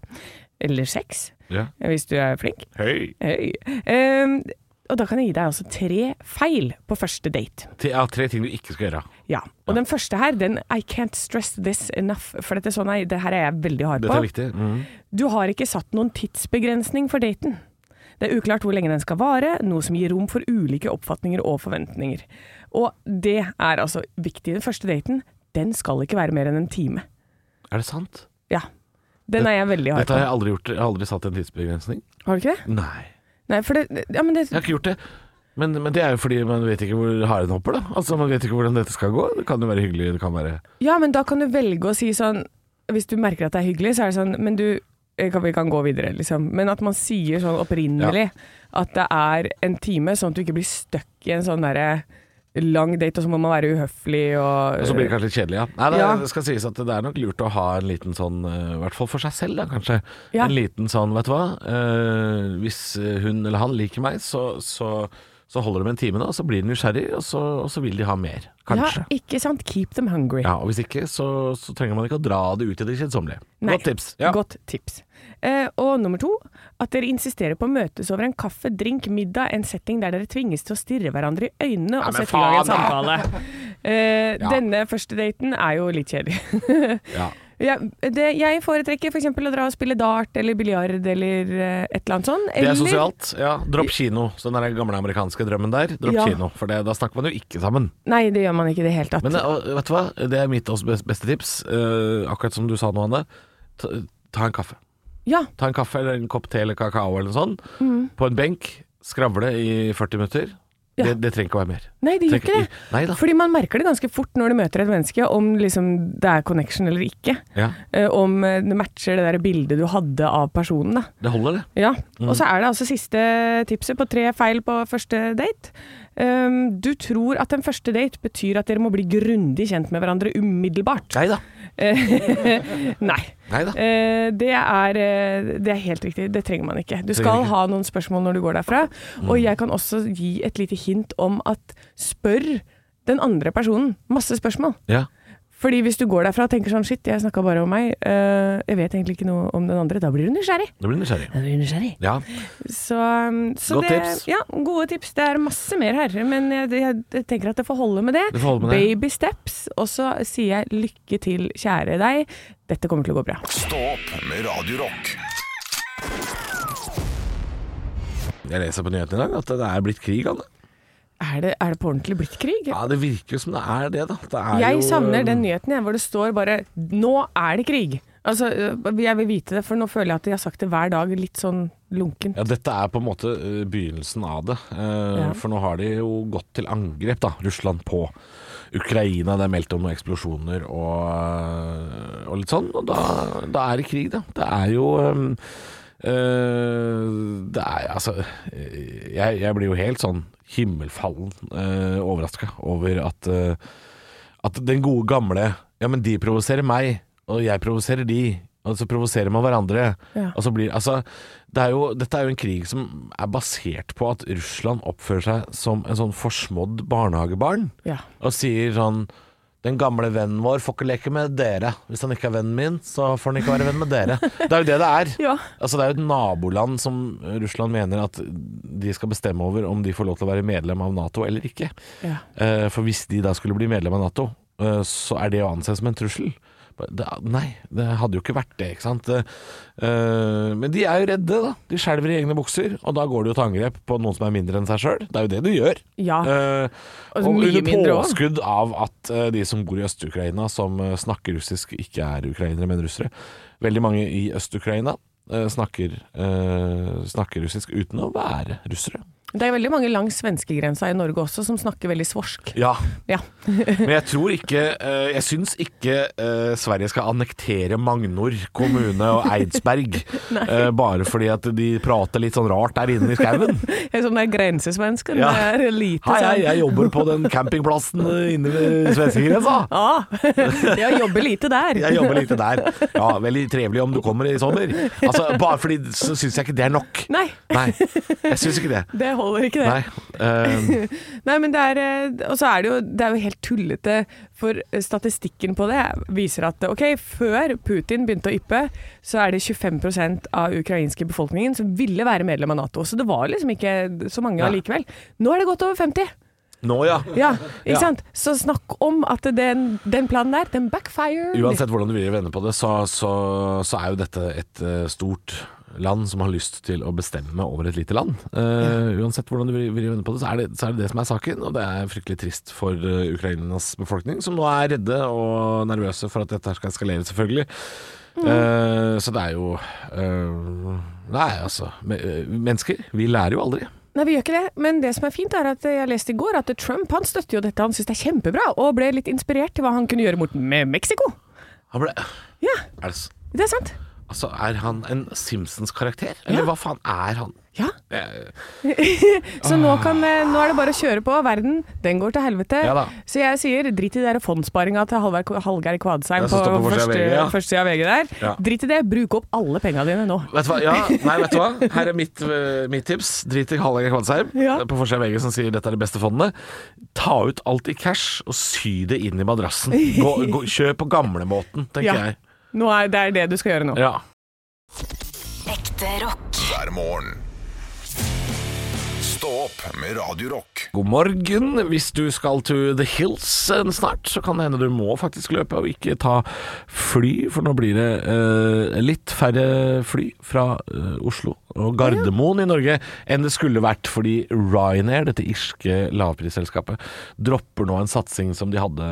Speaker 3: Eller seks,
Speaker 2: Ja.
Speaker 3: Eh, hvis du er flink.
Speaker 2: Høy.
Speaker 3: Hei. Ehm, og da kan jeg gi deg altså tre feil på første date.
Speaker 2: Te- Ja, tre ting du ikke skal gjøre.
Speaker 3: Ja. Og den første her, den I can't stress this enough. For dette er sånn, jeg- det her er jeg veldig hard
Speaker 2: Dette er
Speaker 3: på.
Speaker 2: viktig. Mhm.
Speaker 3: Du har ikke satt noen tidsbegrensning for daten. Det er uklart hvor lenge den skal vare, noe som gir rom for ulike oppfatninger og forventninger. Og det er altså viktig. Den første daten, den skal ikke være mer enn en time.
Speaker 2: Er det sant?
Speaker 3: Ja. Den er jeg veldig hard
Speaker 2: Dette har
Speaker 3: på.
Speaker 2: jeg aldri gjort. Jeg har aldri satt en tidsbegrensning.
Speaker 3: Har du ikke det?
Speaker 2: Nei.
Speaker 3: Nei, for det Ja, men det
Speaker 2: Jeg har ikke gjort det. Men, men det er jo fordi man vet ikke hvor haren hopper, da. Altså, Man vet ikke hvordan dette skal gå. Det kan jo være hyggelig, det kan være
Speaker 3: Ja, men da kan du velge å si sånn Hvis du merker at det er hyggelig, så er det sånn Men du, eh, kan, vi kan gå videre, liksom. Men at man sier sånn opprinnelig at det er en time, sånn at du ikke blir stuck i en sånn derre lang date, og så må man være uhøflig og
Speaker 2: Og så blir det kanskje litt kjedelig, ja. Nei, det,
Speaker 3: Eh, Ja.
Speaker 2: det skal sies at det er nok lurt å ha en liten sånn, eh, i hvert fall for seg selv da, kanskje.
Speaker 3: Ja.
Speaker 2: En liten sånn, vet du hva. eh, hvis hun eller han liker meg, så, så, så holder det med en time da, og så blir de nysgjerrig, og så, og så vil de ha mer, kanskje.
Speaker 3: Ja, ikke sant? Keep them hungry.
Speaker 2: Ja, og hvis ikke, så, så trenger man ikke å dra det ut i det kjedsommelige.
Speaker 3: Nei.
Speaker 2: Godt tips. Ja.
Speaker 3: Godt tips. Eh, og nummer to, at dere insisterer på å møtes over en kaffe, drink, middag, en setting der dere tvinges til å stirre hverandre i øynene og
Speaker 2: men
Speaker 3: sette i gang en
Speaker 2: faen
Speaker 3: samtale. Eh,
Speaker 2: Ja.
Speaker 3: Denne første daten er jo litt kjedelig.
Speaker 2: Ja.
Speaker 3: Ja, det, jeg foretrekker f.eks. For å dra og spille dart eller biljard eller eh, et eller annet sånt.
Speaker 2: Det
Speaker 3: eller-
Speaker 2: er sosialt. Ja, dropp kino. Så den der gamle amerikanske drømmen der, dropp
Speaker 3: Ja.
Speaker 2: kino. For det, da snakker man jo ikke sammen.
Speaker 3: Nei, det gjør man ikke i det hele tatt.
Speaker 2: Men eh, og vet du hva, det er mitt også bes- beste tips. Eh, akkurat som du sa nå, Anne. Ta, ta en kaffe.
Speaker 3: ja,
Speaker 2: Ta en kaffe eller en kopp te eller kakao eller noe sånt. På en benk. Skravle i 40 minutter.
Speaker 3: Mm. Ja.
Speaker 2: Det, det trenger ikke å være mer.
Speaker 3: nei, det gjør
Speaker 2: Trenger
Speaker 3: ikke det.
Speaker 2: Nei da.
Speaker 3: Fordi man merker det ganske fort når du møter et menneske, om liksom det er connection eller ikke.
Speaker 2: Ja,
Speaker 3: Eh, om eh, det matcher det der bildet du hadde av personen. da.
Speaker 2: det holder, det.
Speaker 3: Ja, Og
Speaker 2: Mm.
Speaker 3: så er det altså siste tipset på tre feil på første date. Um, du tror at en første date betyr at dere må bli grundig kjent med hverandre umiddelbart.
Speaker 2: Nei da.
Speaker 3: Nei.
Speaker 2: Nei da.
Speaker 3: Eh, det, er, eh, det er helt riktig. Det trenger man ikke. Du
Speaker 2: Trenger
Speaker 3: skal
Speaker 2: ikke. Mm.
Speaker 3: ha noen spørsmål når du går derfra. Og jeg kan også gi et lite hint om at spør den andre personen masse spørsmål.
Speaker 2: Ja.
Speaker 3: Fordi hvis du går derfra og tenker sånn shit, jeg snakka bare om meg, eh, jeg vet egentlig ikke noe om den andre, da blir du nysgjerrig.
Speaker 2: Da blir du nysgjerrig.
Speaker 3: Da blir du nysgjerrig.
Speaker 2: Ja.
Speaker 3: Så, um, så
Speaker 2: Godt
Speaker 3: det,
Speaker 2: tips.
Speaker 3: Ja, gode tips. Det er masse mer her, men jeg, jeg, jeg tenker at det får holde med det.
Speaker 2: Det får holde med det.
Speaker 3: Baby steps. Og så sier jeg lykke til, kjære deg. Dette kommer til å gå bra.
Speaker 1: Stå opp med Radio Rock.
Speaker 2: Jeg leser på nyhetene i dag at det er blitt krig, Anne.
Speaker 3: Er det, er det på ordentlig blitt krig?
Speaker 2: Ja, det virker jo som det er det, da. Det er
Speaker 3: jeg
Speaker 2: jo,
Speaker 3: savner den nyheten igjen hvor det står bare 'nå er det krig'. Altså, øh, Jeg vil vite det, for nå føler jeg at jeg har sagt det hver dag litt sånn lunken.
Speaker 2: Ja, dette er på en måte eh, begynnelsen av det. Eh,
Speaker 3: Ja.
Speaker 2: For nå har de jo gått til angrep, da, Russland på Ukraina. Det er meldt om noen eksplosjoner og, og litt sånn. Og da, da er det krig, da. Det er jo ehm, eh, Det er altså eh, jeg, jeg blir jo helt sånn himmelfallen uh, overraska over at eh, at den gode gamle Ja, men de provoserer meg, og jeg provoserer de. Og så provoserer man hverandre.
Speaker 3: Ja.
Speaker 2: Og så blir, altså, det er jo, dette er jo en krig som er basert på at Russland oppfører seg som en sånn forsmådd barnehagebarn.
Speaker 3: Ja.
Speaker 2: Og sier sånn Den gamle vennen vår får ikke leke med dere. Hvis han ikke er vennen min, så får han ikke være venn med dere. Det er jo det det er.
Speaker 3: Ja.
Speaker 2: Altså, det er jo et naboland som Russland mener at de skal bestemme over om de får lov til å være medlem av Nato eller ikke.
Speaker 3: ja.
Speaker 2: Eh, For hvis de da skulle bli medlem av Nato, eh, så er det å anse som en trussel. Det, nei, det hadde jo ikke vært det, ikke sant. Eh, eh, Men de er jo redde, da. De skjelver i egne bukser, og da går de jo til angrep på noen som er mindre enn seg sjøl. Det er jo det du gjør.
Speaker 3: Ja.
Speaker 2: Eh, og
Speaker 3: Ah. mye
Speaker 2: under
Speaker 3: mindre også.
Speaker 2: påskudd av at eh, de som bor i Øst-Ukraina, som eh, snakker russisk, ikke er ukrainere, men russere. Veldig mange i Øst-Ukraina eh, snakker, eh, snakker russisk uten å være russere.
Speaker 3: Det er veldig mange langs svenskegrensa i Norge også som snakker veldig svorsk.
Speaker 2: Ja,
Speaker 3: Ja.
Speaker 2: Men jeg tror ikke eh, Jeg syns ikke eh, Sverige skal annektere Magnor kommune og Eidsberg eh, bare fordi at de prater litt sånn rart der inne i skauen.
Speaker 3: Jeg er sånn der grensesvensker.
Speaker 2: Ja.
Speaker 3: Det er lite
Speaker 2: Hei, hei,
Speaker 3: sånn
Speaker 2: jeg jobber på den campingplassen eh, inne ved svenskegrensa.
Speaker 3: Ah, jeg jobber lite der.
Speaker 2: Jeg jobber lite der. Ja, veldig trevelig om du kommer i sommer. Altså, bare fordi så syns jeg ikke det er nok.
Speaker 3: Nei,
Speaker 2: Nei, jeg syns ikke det.
Speaker 3: det holder ikke, det.
Speaker 2: Nei. eh,
Speaker 3: Nei, men det er, eh, og så er det, jo, det er jo helt tullete, for eh, statistikken på det viser at ok, før Putin begynte å yppe, så er det 25 av ukrainske befolkningen som ville være medlem av Nato. Så det var liksom ikke så mange
Speaker 2: Nei.
Speaker 3: allikevel. Nå er det godt over 50!
Speaker 2: nå, ja.
Speaker 3: Ja, ikke
Speaker 2: Ja.
Speaker 3: sant? Så snakk om at den, den planen der, den backfired.
Speaker 2: Uansett hvordan du vil vende på det, så, så, så er jo dette et eh, stort land som har lyst til å bestemme over et lite land. Eh, uansett hvordan du vil, vil vende på det så, er det, så er det det som er saken, og det er fryktelig trist for eh, Ukrainas befolkning, som nå er redde og nervøse for at dette her skal eskalere, selvfølgelig. Eh, så det er jo eh, Nei, altså. men- eh, Mennesker, vi lærer jo aldri.
Speaker 3: Nei, vi gjør ikke det. Men det som er fint, er at jeg leste i går at Trump han støtter jo dette, han syns det er kjempebra, og ble litt inspirert til hva han kunne gjøre mot med Mexico.
Speaker 2: Han ble,
Speaker 3: Ja,
Speaker 2: er, det, s-
Speaker 3: det er sant.
Speaker 2: altså, er han en Simpsons-karakter? Eller
Speaker 3: Ja.
Speaker 2: hva faen er han?
Speaker 3: Ja.
Speaker 2: Eh,
Speaker 3: Så nå, kan, eh, nå er det bare å kjøre på. Verden, den går til helvete.
Speaker 2: Ah. Ja da.
Speaker 3: Så jeg sier drit i det der fondssparinga til Hallgeir- Hallgeir Kvadsheim
Speaker 2: Ja,
Speaker 3: på
Speaker 2: som står på forsida av
Speaker 3: første-
Speaker 2: VG, ja.
Speaker 3: førstesida av VG der.
Speaker 2: Ja.
Speaker 3: Drit i det. Bruk opp alle penga dine nå.
Speaker 2: Vet du hva? Ja, nei, vet du hva? Her er mitt, eh, mitt tips. Drit i Hallgeir Kvadsheim eh,
Speaker 3: Ja.
Speaker 2: på forsida av VG som sier dette er de beste fondene. Ta ut alt i cash og sy det inn i madrassen. Gå, gå, kjør på gamlemåten, tenker
Speaker 3: Ja.
Speaker 2: jeg.
Speaker 3: nå er, det er det du skal gjøre nå.
Speaker 2: Ja.
Speaker 4: Ekte rock.
Speaker 1: hver morgen. Stå opp med Radio Rock.
Speaker 2: God morgen. Hvis du skal to the hills eh, snart, så kan det hende du må faktisk løpe og ikke ta fly, for nå blir det eh, litt færre fly fra eh, Oslo og Gardermoen i Norge enn det skulle vært, fordi Ryanair, dette irske lavprisselskapet, dropper nå en satsing som de hadde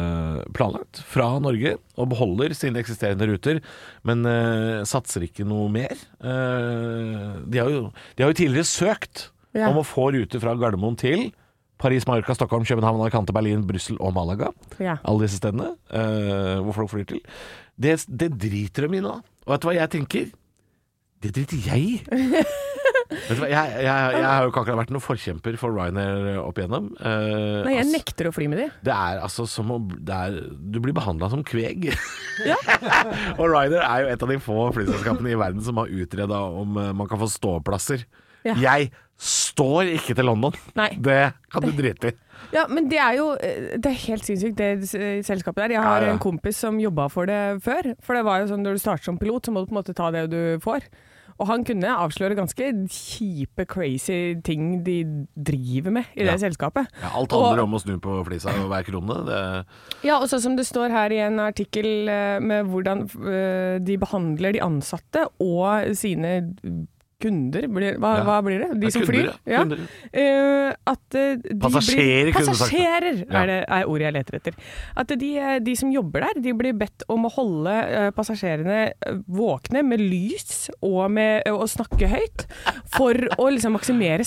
Speaker 2: planlagt fra Norge, og beholder sine eksisterende ruter, men eh, satser ikke noe mer. Eh, de, har jo, de har jo tidligere søkt
Speaker 3: Ja.
Speaker 2: om å få ruter fra Gardermoen til Paris, Mallorca, Stockholm, København, Alicante, Berlin, Brussel og Malaga.
Speaker 3: Ja.
Speaker 2: Alle disse stedene eh, hvor folk flyr til. Det, det driter de i nå. Og vet du hva jeg tenker? Det driter jeg i. vet du hva, jeg, jeg, jeg har jo ikke akkurat vært noen forkjemper for Ryanair opp igjennom. Eh,
Speaker 3: Nei, jeg
Speaker 2: altså,
Speaker 3: nekter å fly med de.
Speaker 2: det er altså som å det er, Du blir behandla som kveg. og Ryanair er jo et av de få flyselskapene i verden som har utreda om eh, man kan få ståplasser.
Speaker 3: Ja.
Speaker 2: Jeg står ikke til London.
Speaker 3: Nei.
Speaker 2: Det kan du drite i.
Speaker 3: Ja, men det er jo eh, Det er helt sinnssykt, det eh, selskapet der. Jeg har
Speaker 2: Ja, ja.
Speaker 3: en kompis som jobba for det før. For det var jo sånn når du starter som pilot, så må du på en måte ta det du får. Og han kunne avsløre ganske kjipe, crazy ting de driver med i det selskapet.
Speaker 2: Ja, alt handler
Speaker 3: og,
Speaker 2: om å snu på flisa og hver krone. Det,
Speaker 3: Ja, og sånn som det står her i en artikkel eh, med hvordan eh, de behandler de ansatte og sine kunder blir, hva,
Speaker 2: Ja.
Speaker 3: hva blir det? De
Speaker 2: Ja,
Speaker 3: som
Speaker 2: kunder,
Speaker 3: flyr?
Speaker 2: ja. Kunder.
Speaker 3: Eh, at eh, de
Speaker 2: Passasjerer,
Speaker 3: blir,
Speaker 2: kunne du sagt.
Speaker 3: Passasjerer
Speaker 2: Ja.
Speaker 3: er, det, er ordet jeg leter etter. At de, eh, de som jobber der, de blir bedt om å holde eh, passasjerene eh, våkne med lys og med å snakke høyt for å liksom maksimere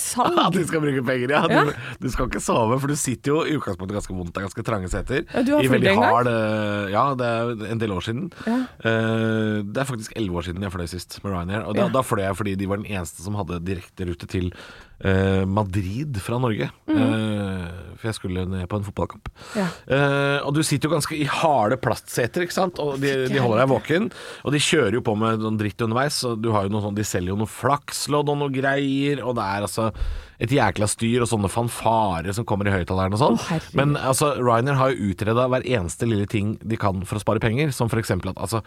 Speaker 2: at
Speaker 3: salg.
Speaker 2: de skal bruke penger, ja. Du,
Speaker 3: Ja.
Speaker 2: du skal ikke sove, for du sitter jo i utgangspunktet ganske vondt. Det er ganske trange seter.
Speaker 3: Ja, du har
Speaker 2: I
Speaker 3: flydd
Speaker 2: veldig
Speaker 3: en gang?
Speaker 2: hard, eh, Ja, det er en del år siden.
Speaker 3: Ja.
Speaker 2: Eh, det er faktisk elleve år siden jeg fløy sist med Ryanair. Og da,
Speaker 3: Ja.
Speaker 2: da fløy jeg fordi de var den eneste som hadde direkterute til eh, Madrid fra Norge. Eh, for jeg skulle ned på en fotballkamp.
Speaker 3: Mhm. Ja.
Speaker 2: Eh, og du sitter jo ganske i harde plastseter, ikke sant. Og de, de holder deg våken. Og de kjører jo på med noen dritt underveis. Og du har jo noe sånn, de selger jo noe flakslodd og noe greier. Og det er altså et jækla styr og sånne fanfarer som kommer i høyttaleren og sånn.
Speaker 3: Å, herregud.
Speaker 2: Men altså, Ryanair har jo utreda hver eneste lille ting de kan for å spare penger. Som f.eks. at altså,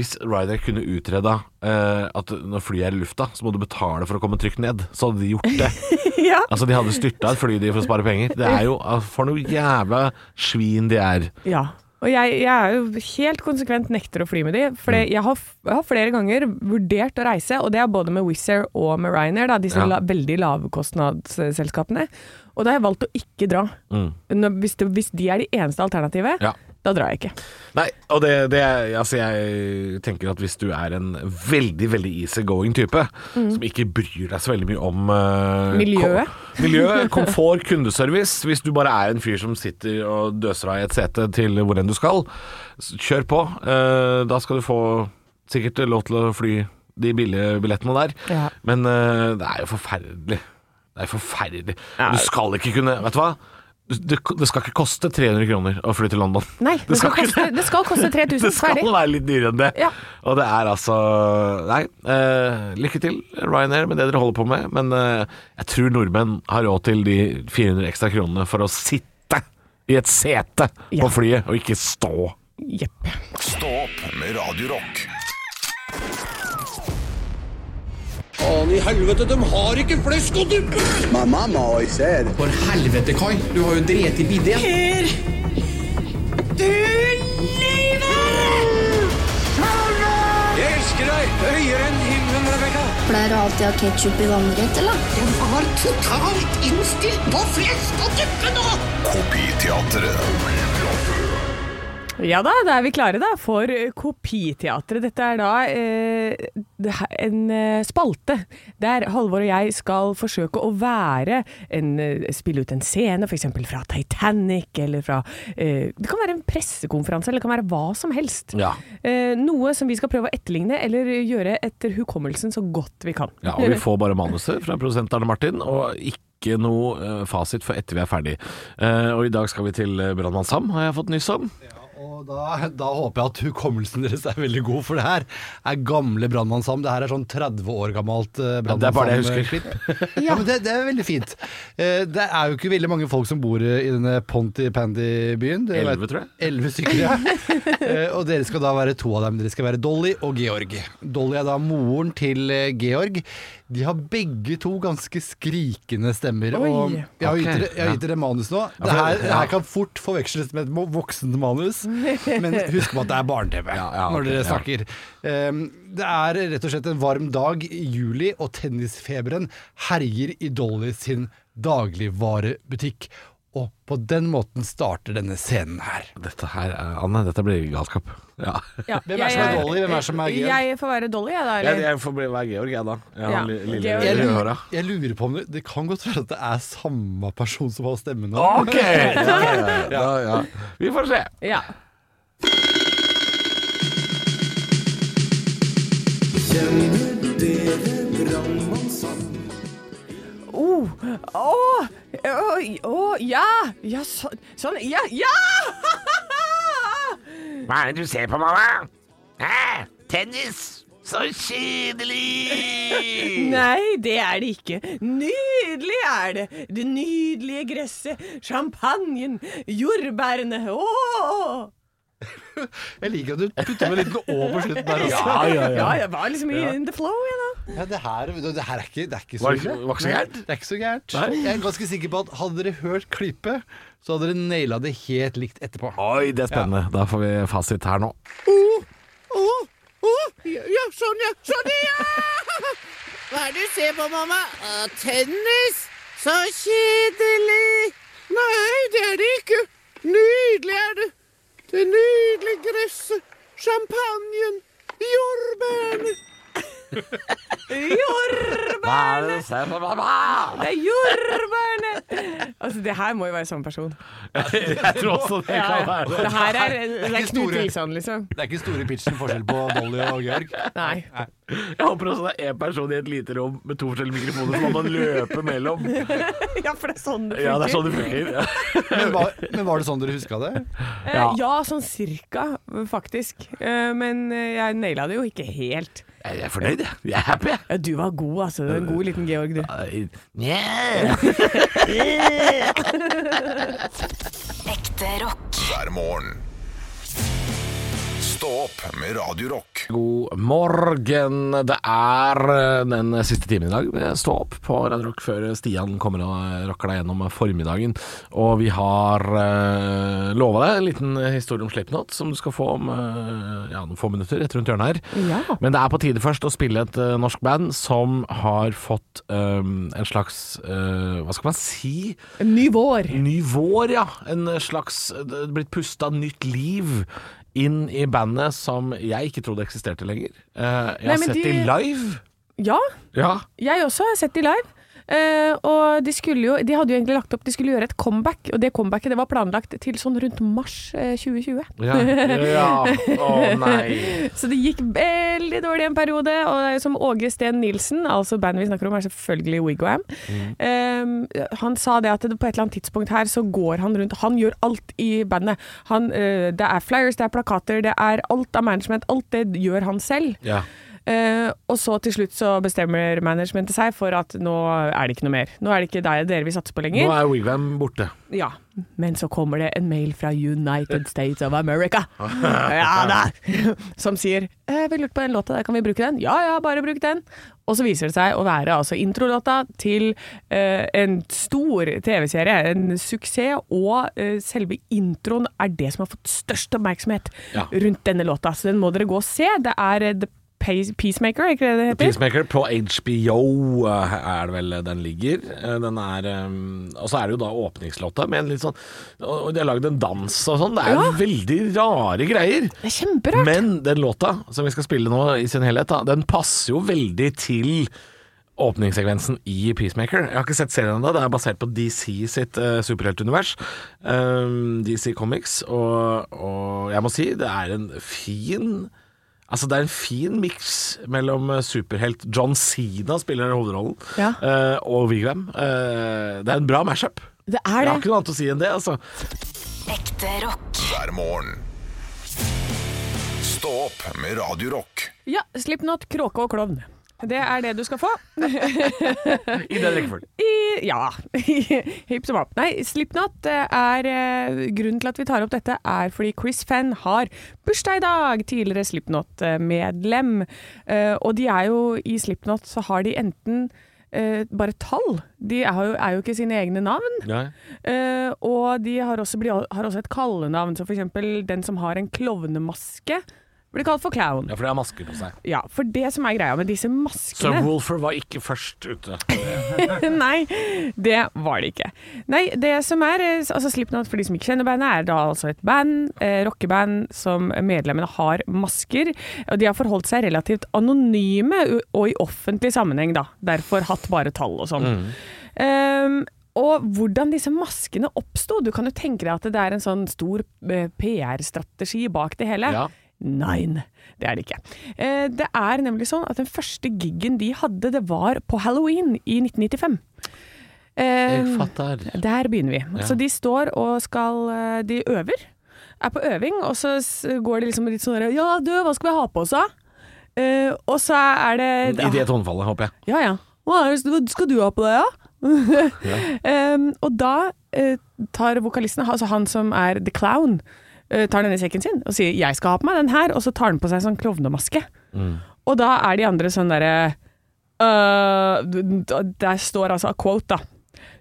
Speaker 2: hvis Ryanair kunne utreda eh, at når flyet er i lufta, så må du betale for å komme trygt ned. Så hadde de gjort det.
Speaker 3: Ja.
Speaker 2: Altså, de hadde styrta et fly de for å spare penger. Det er jo ah, For noe jævla svin de er.
Speaker 3: Ja. Og jeg, jeg er jo helt konsekvent nekter å fly med de, for
Speaker 2: Mm.
Speaker 3: det- jeg, har f- jeg har flere ganger vurdert å reise, og det er både med Wizz Air og med Ryanair, da, disse
Speaker 2: Ja.
Speaker 3: la, veldig lavkostnadsselskapene. Og da har jeg valgt å ikke dra. Når, hvis, det, hvis de er de eneste alternativet,
Speaker 2: Mm. Ja.
Speaker 3: da drar jeg ikke.
Speaker 2: Nei, og det, det er- Altså, jeg tenker at hvis du er en veldig, veldig easygoing type, som ikke bryr deg så veldig mye om eh,
Speaker 3: Mm. Miljøet.
Speaker 2: Kom, miljø, komfort, kundeservice Hvis du bare er en fyr som sitter og døser av i et sete til hvor enn du skal, s- kjør på. Eh, da skal du få sikkert lov til å fly de billige billettene der.
Speaker 3: Ja.
Speaker 2: Men eh, det er jo forferdelig. Det er forferdelig. Du skal ikke kunne Vet du hva? Du- Det, det skal ikke koste 300 kroner å fly til London.
Speaker 3: Nei, det, skal,
Speaker 2: ikke
Speaker 3: koste, det skal koste 3000,
Speaker 2: det skal
Speaker 3: ferdig.
Speaker 2: være litt dyrere enn det.
Speaker 3: Ja.
Speaker 2: Og det er altså Nei, eh, lykke til, Ryanair, med det dere holder på med. Men eh, jeg tror nordmenn har råd til de 400 ekstra kronene for å sitte i et sete
Speaker 3: Ja.
Speaker 2: på flyet, og ikke stå.
Speaker 3: Jepp.
Speaker 1: Stå opp med Radio Rock.
Speaker 7: Faen i helvete, de har ikke flesk og duppe!
Speaker 8: My mama always said,
Speaker 7: For helvete, Kai. Du har jo drept i bidé. Jeg elsker deg høyere enn himmelen, Rebekka.
Speaker 9: Pleier du alltid å ha ketsjup i vannrett, eller?
Speaker 7: De var totalt innstilt på flesk og duppe nå!
Speaker 1: Kopiteatret.
Speaker 3: Ja da, da er vi klare da for eh, Kopiteatret. Dette er da eh, det her- en eh, spalte der Halvor og jeg skal forsøke å være en, eh, Spille ut en scene, f.eks. fra Titanic, eller fra eh, Det kan være en pressekonferanse, eller det kan være hva som helst.
Speaker 2: Ja.
Speaker 3: Eh, noe som vi skal prøve å etterligne, eller gjøre etter hukommelsen så godt vi kan.
Speaker 2: Ja, og vi får bare manuset fra produsent Arne Martin, og ikke noe eh, fasit før etter vi er ferdig. Eh, og i dag skal vi til eh, Brannmann Sam, har jeg fått nyss om.
Speaker 10: Og da, da håper jeg at hukommelsen deres er veldig god, for det her er gamle Brannmann Sam. Det her er sånn 30 år gammelt
Speaker 2: det
Speaker 10: eh,
Speaker 2: er
Speaker 10: Brannmann
Speaker 2: bare det jeg
Speaker 10: Sam-klipp. ja. men det, det er veldig fint. Eh, Det er jo ikke veldig mange folk som bor eh, i denne Ponty-Pandy-byen. Det er-
Speaker 2: Elleve, tror jeg.
Speaker 10: Elleve stykker, ja. Eh, og dere skal da være to av dem. Dere skal være Dolly og Georg. Dolly er da moren til eh, Georg. De har begge to ganske skrikende stemmer.
Speaker 3: Oi.
Speaker 10: Og jeg har gitt
Speaker 2: Ok,
Speaker 10: dere- jeg har gitt dere manus nå.
Speaker 2: for-
Speaker 10: Det her, det
Speaker 2: ja.
Speaker 10: her kan fort forveksles med et mo- voksent manus, men husk på at det er barne-TV
Speaker 2: ja,
Speaker 10: når
Speaker 2: ok,
Speaker 10: dere
Speaker 2: ja.
Speaker 10: snakker. Um, det er rett og slett en varm dag i juli, og tennisfeberen herjer i Dolly sin dagligvarebutikk. Og på den måten starter denne scenen her.
Speaker 2: Dette her, er- Anne, dette blir galskap. Ja.
Speaker 3: Ja.
Speaker 10: Hvem er som er Dolly? Hvem er som er Georg?
Speaker 3: Jeg får være Dolly, jeg da.
Speaker 2: Jeg,
Speaker 3: Eller?
Speaker 2: jeg får bli være Georg, jeg da. Jeg
Speaker 3: Ja,
Speaker 2: har li- lille,
Speaker 3: Georg.
Speaker 10: Jeg
Speaker 2: lille
Speaker 10: lurer,
Speaker 2: høra.
Speaker 10: jeg lurer på om det, det kan godt være at det er samme person som har stemmen nå.
Speaker 2: Ok! Ja, ja, ja. Vi får se.
Speaker 3: Ja. Oh, oh, oh, oh, ja, ja, så, sånn, ja, ja!
Speaker 2: Hva er det du ser på, mamma? Hæ? Tennis? Så kjedelig!
Speaker 3: Nei, det er det ikke. Nydelig er det. Det nydelige gresset, champagnen, jordbærene. Åh!
Speaker 10: Jeg liker at du putter med en liten Å på slutten altså. der også.
Speaker 2: Ja, ja, ja.
Speaker 3: Ja, jeg var liksom i in the flow, jeg da.
Speaker 10: Ja, det, her, det her er ikke, det er ikke så
Speaker 2: Var det ikke-
Speaker 10: ille.
Speaker 2: var ikke så gærent?
Speaker 10: Det er ikke så gærent.
Speaker 2: Nei.
Speaker 10: Jeg er ganske sikker på at hadde dere hørt klippet, så hadde dere naila det helt likt etterpå.
Speaker 2: Oi, det er spennende. Da får vi fasit her nå.
Speaker 7: ja, sånn ja, sånn ja! Hva er det du ser på, mamma? Ah, tennis? Så kjedelig! Nei, det er det ikke. Nydelig er det. Det nydelige gresset, champagnen, jordbærene.
Speaker 2: Hva er det du ser på, mamma?
Speaker 3: Det er jordbærene! Altså, det her må jo være samme person.
Speaker 2: Jeg tror også det kan være det.
Speaker 3: Det her er, det er
Speaker 10: ikke
Speaker 3: Knut
Speaker 10: store.
Speaker 3: Nilsson, liksom.
Speaker 10: Det er ikke store pitchen forskjell på Dolly og Georg.
Speaker 3: Nei.
Speaker 2: Jeg håper også det er én person i et lite rom med to forskjellige mikrofoner som man må løpe mellom.
Speaker 3: Ja, for det er sånn det
Speaker 2: Ja, det er
Speaker 3: funker.
Speaker 2: sånn det funker.
Speaker 10: Men var, men var det sånn dere huska det?
Speaker 3: Eh,
Speaker 2: Ja.
Speaker 3: Ja, sånn cirka, faktisk. Eh, Men eh, jeg naila det jo ikke helt.
Speaker 2: Jeg er fornøyd, jeg. Jeg er happy.
Speaker 3: Ja, du var god, altså. Du er en god liten Georg, du.
Speaker 2: Yeah.
Speaker 4: Ekte rock.
Speaker 1: hver morgen. Stå opp med Radio Rock.
Speaker 2: God morgen. Det er eh, den siste timen i dag. Stå opp på Radio Rock før Stian kommer og rocker deg gjennom formiddagen. Og vi har uh, lova deg en liten historie om Slipknot som du skal få om eh, ja, noen få minutter rett rundt hjørnet her.
Speaker 3: Ja.
Speaker 2: Men det er på tide først å spille et eh, norsk band som har fått eh, en slags eh, Hva skal man si?
Speaker 3: Ny vår.
Speaker 2: Ny vår, ja. En slags det er blitt pusta nytt liv inn i bandet som jeg ikke trodde eksisterte lenger. Eh, jeg har
Speaker 3: Nei, men
Speaker 2: sett de...
Speaker 3: de-
Speaker 2: live.
Speaker 3: Ja,
Speaker 2: Ja.
Speaker 3: jeg også har sett de live. Eh, og de skulle jo De hadde jo egentlig lagt opp De skulle gjøre et comeback, og det comebacket det var planlagt til sånn rundt mars eh, 2020.
Speaker 2: Ja. Å nei.
Speaker 3: Så det gikk veldig dårlig en periode, og det er jo som Åge Steen Nilsen, altså bandet vi snakker om er selvfølgelig Wigwam, eh, han sa det at det på et eller annet tidspunkt her så går han rundt, han gjør alt i bandet. Han, eh, det er flyers, det er plakater, det er alt av management, alt det gjør han selv.
Speaker 2: Ja.
Speaker 3: Eh, og så til slutt så bestemmer managementet seg for at nå er det ikke noe mer. Nå er det ikke deg, dere vi satser på
Speaker 2: Nå
Speaker 3: lenger.
Speaker 2: er Wigwam borte.
Speaker 3: Ja. Men så kommer det en mail fra United States of America. Ja da! Som sier eh, 'Vi lurte på den låta, der kan vi bruke den?' 'Ja ja, bare bruk den'. Og så viser det seg å være altså introlåta til eh, en stor TV-serie, en suksess, og eh, selve introen er det som har fått størst oppmerksomhet
Speaker 2: Ja.
Speaker 3: rundt denne låta. Så den må dere gå og se. Det er eh, The Pace- Peacemaker, er ikke det det heter?
Speaker 2: Peacemaker på HBO eh, er det vel den ligger. Eh, Den er eh, Og så er det jo da åpningslåta med en litt sånn Og og de har lagd en dans og sånn. Det er
Speaker 3: Ja.
Speaker 2: veldig rare greier.
Speaker 3: Det er kjemperart.
Speaker 2: Men den låta som vi skal spille nå i sin helhet, da, den passer jo veldig til åpningssekvensen i Peacemaker. Jeg har ikke sett serien ennå. Det er basert på DC sitt eh, superheltunivers. Eh, DC Comics. Og, og jeg må si det er en fin Altså Det er en fin miks mellom eh, superhelt John Sina spiller hovedrollen,
Speaker 3: Ja.
Speaker 2: eh, og Wigram. Eh, det er en bra mashup.
Speaker 3: Det
Speaker 2: Jeg
Speaker 3: er
Speaker 2: har
Speaker 3: det.
Speaker 2: ikke noe annet å si enn det. Altså.
Speaker 4: Ekte rock.
Speaker 1: hver morgen. Stå opp med Radio Rock.
Speaker 3: Ja, Slipknot, kråke og klovn. Det er det du skal få.
Speaker 2: I den rekkefølgen.
Speaker 3: I, ja. Hipp som happ. Nei, Slipknot eh, er eh, Grunnen til at vi tar opp dette, er fordi Chris Fenn har bursdag i dag! Tidligere Slipknot-medlem. Eh, og de er jo I Slipknot så har de enten eh, bare tall. De er jo, er jo ikke sine egne navn.
Speaker 2: Ja.
Speaker 3: Eh, og de har også, bli, har også et kallenavn. Så for eksempel den som har en klovnemaske, blir kalt for clown.
Speaker 2: ja, for det har masker på seg.
Speaker 3: Ja, for det som er greia med disse
Speaker 2: Så
Speaker 3: maskene
Speaker 2: Wolfer var ikke først ute.
Speaker 3: Nei, det var det ikke. Nei, det som er eh, altså Slipknot, for de som ikke kjenner bandet, er da altså et band, eh, rockeband, som medlemmene har masker. Og de har forholdt seg relativt anonyme, u- og i offentlig sammenheng, da. Derfor hatt bare tall og sånn. Ehm, og hvordan disse maskene oppsto. Du kan jo tenke deg at det er en sånn stor eh, PR-strategi bak det hele.
Speaker 2: Ja.
Speaker 3: Nein, det er det ikke. Eh, Det er nemlig sånn at den første giggen de hadde, det var på halloween i 1995. Eh,
Speaker 2: fatter.
Speaker 3: der begynner vi. Så de står og skal eh, De øver. Er på øving, og så s- går de liksom litt sånn der, Ja, du, hva skal vi ha på oss, da? Eh, og så er det
Speaker 2: I det tonefallet, håper jeg.
Speaker 3: ja, ja. Hva er det, hva skal du ha på deg, ja? um, og da eh, tar vokalisten, altså han som er The Clown, eh, tar denne sekken sin og sier 'jeg skal ha på meg den her', og så tar han på seg sånn klovnemaske. Og da er de andre sånn derre eh, d- d- Der står altså a quote, da.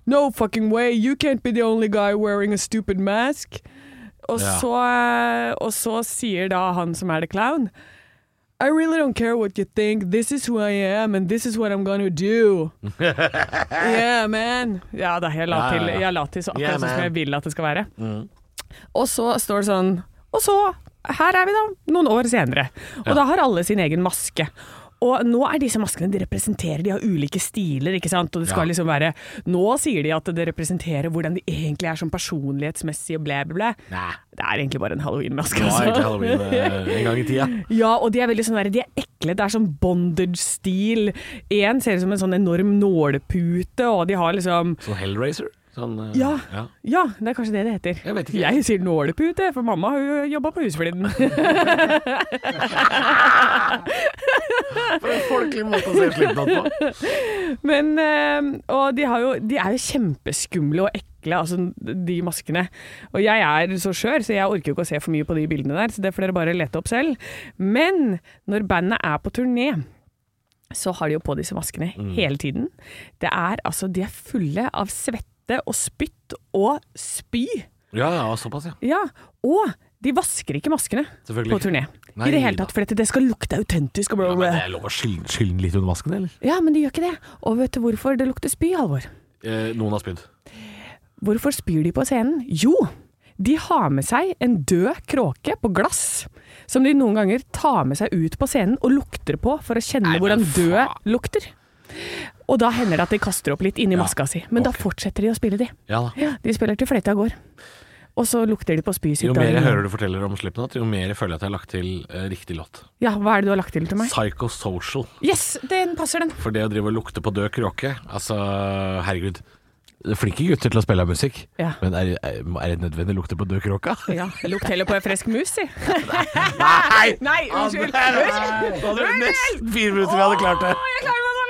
Speaker 3: No fucking way, you can't be the only guy wearing a stupid mask. Og,
Speaker 2: Ja.
Speaker 3: så, og så sier da han som er The Clown i really don't care what you think. This is who I am, and this is what I'm gonna do. yeah, man. Ja da, jeg la
Speaker 2: Ja, ja,
Speaker 3: til,
Speaker 2: ja.
Speaker 3: jeg la til så akkurat
Speaker 2: Yeah,
Speaker 3: sånn som
Speaker 2: man. Mm.
Speaker 3: jeg vil at det skal være. Og så står det sånn Og så, her er vi da, noen år senere. Og da har alle sin egen maske. Og nå er disse maskene de representerer, de har ulike stiler, ikke sant. Og det skal
Speaker 2: Ja.
Speaker 3: liksom være Nå sier de at det representerer hvordan de egentlig er sånn personlighetsmessig og blæ, blæ, blæ.
Speaker 2: Nei.
Speaker 3: Det er egentlig bare en halloweenmaske,
Speaker 2: Det var egentlig
Speaker 3: altså.
Speaker 2: halloween eh, en gang i tida.
Speaker 3: Ja, og de er veldig sånn der, de er ekle. Det er sånn bondage-stil. Én ser ut som en sånn enorm nålepute, og de har liksom
Speaker 2: Sånn Hellraiser. Sånn, eh,
Speaker 3: ja, ja, det er kanskje det det heter.
Speaker 2: Jeg vet ikke.
Speaker 3: Jeg sier nålepute, for mamma har jo jobba på husfliden.
Speaker 2: For en folkelig måte å se Slipknot på.
Speaker 3: Men, eh, og de, har jo, de er jo kjempeskumle og ekle, altså de maskene. Og jeg er så skjør, så jeg orker jo ikke å se for mye på de bildene der, så det får dere bare lete opp selv. Men når bandet er på turné, så har de jo på disse maskene
Speaker 2: Mm.
Speaker 3: hele tiden. Det er altså, de er fulle av svette og spytt og spy.
Speaker 2: Ja, ja, såpass, ja.
Speaker 3: Ja, og de vasker ikke maskene
Speaker 2: Selvfølgelig
Speaker 3: på
Speaker 2: ikke.
Speaker 3: turné.
Speaker 2: Nei
Speaker 3: I det hele
Speaker 2: da.
Speaker 3: tatt, for dette, det skal lukte autentisk og bla,
Speaker 2: ja
Speaker 3: bla,
Speaker 2: men
Speaker 3: bla.
Speaker 2: det er lov å skylle skylle den litt under masken, eller?
Speaker 3: Ja, men de gjør ikke det. Og vet du hvorfor det lukter spy, Halvor?
Speaker 2: Eh, noen har spydd.
Speaker 3: Hvorfor spyr de på scenen? Jo, de har med seg en død kråke på glass, som de noen ganger tar med seg ut på scenen og lukter på for å kjenne
Speaker 2: Nei, men
Speaker 3: hvordan døde
Speaker 2: faen.
Speaker 3: lukter. Og da hender det at de kaster opp litt inni
Speaker 2: Ja,
Speaker 3: maska si, men da
Speaker 2: ok.
Speaker 3: fortsetter de å spille, de.
Speaker 2: Ja da.
Speaker 3: Ja, de spiller til fløyta går. Og så lukter de på spyet sitt.
Speaker 2: Jo mer
Speaker 3: dagen
Speaker 2: jeg
Speaker 3: lang.
Speaker 2: hører du forteller om Slipknot, jo mer jeg føler jeg at jeg har lagt til eh, riktig låt.
Speaker 3: Ja, hva er det du har lagt til til meg?
Speaker 2: Psychosocial.
Speaker 3: Yes, den passer, den.
Speaker 2: For det å drive og lukte på død kråke Altså, herregud. Det er Flinke gutter til å spille musikk,
Speaker 3: Ja.
Speaker 2: men er, er er det nødvendig å lukte på død kråke?
Speaker 3: Ja, Lukt heller på en frisk mus, si.
Speaker 2: Nei!
Speaker 3: Nei, unnskyld. Unnskyld.
Speaker 2: Da hadde det nesten fire minutter vi hadde klart det.
Speaker 3: Å, jeg klarer meg så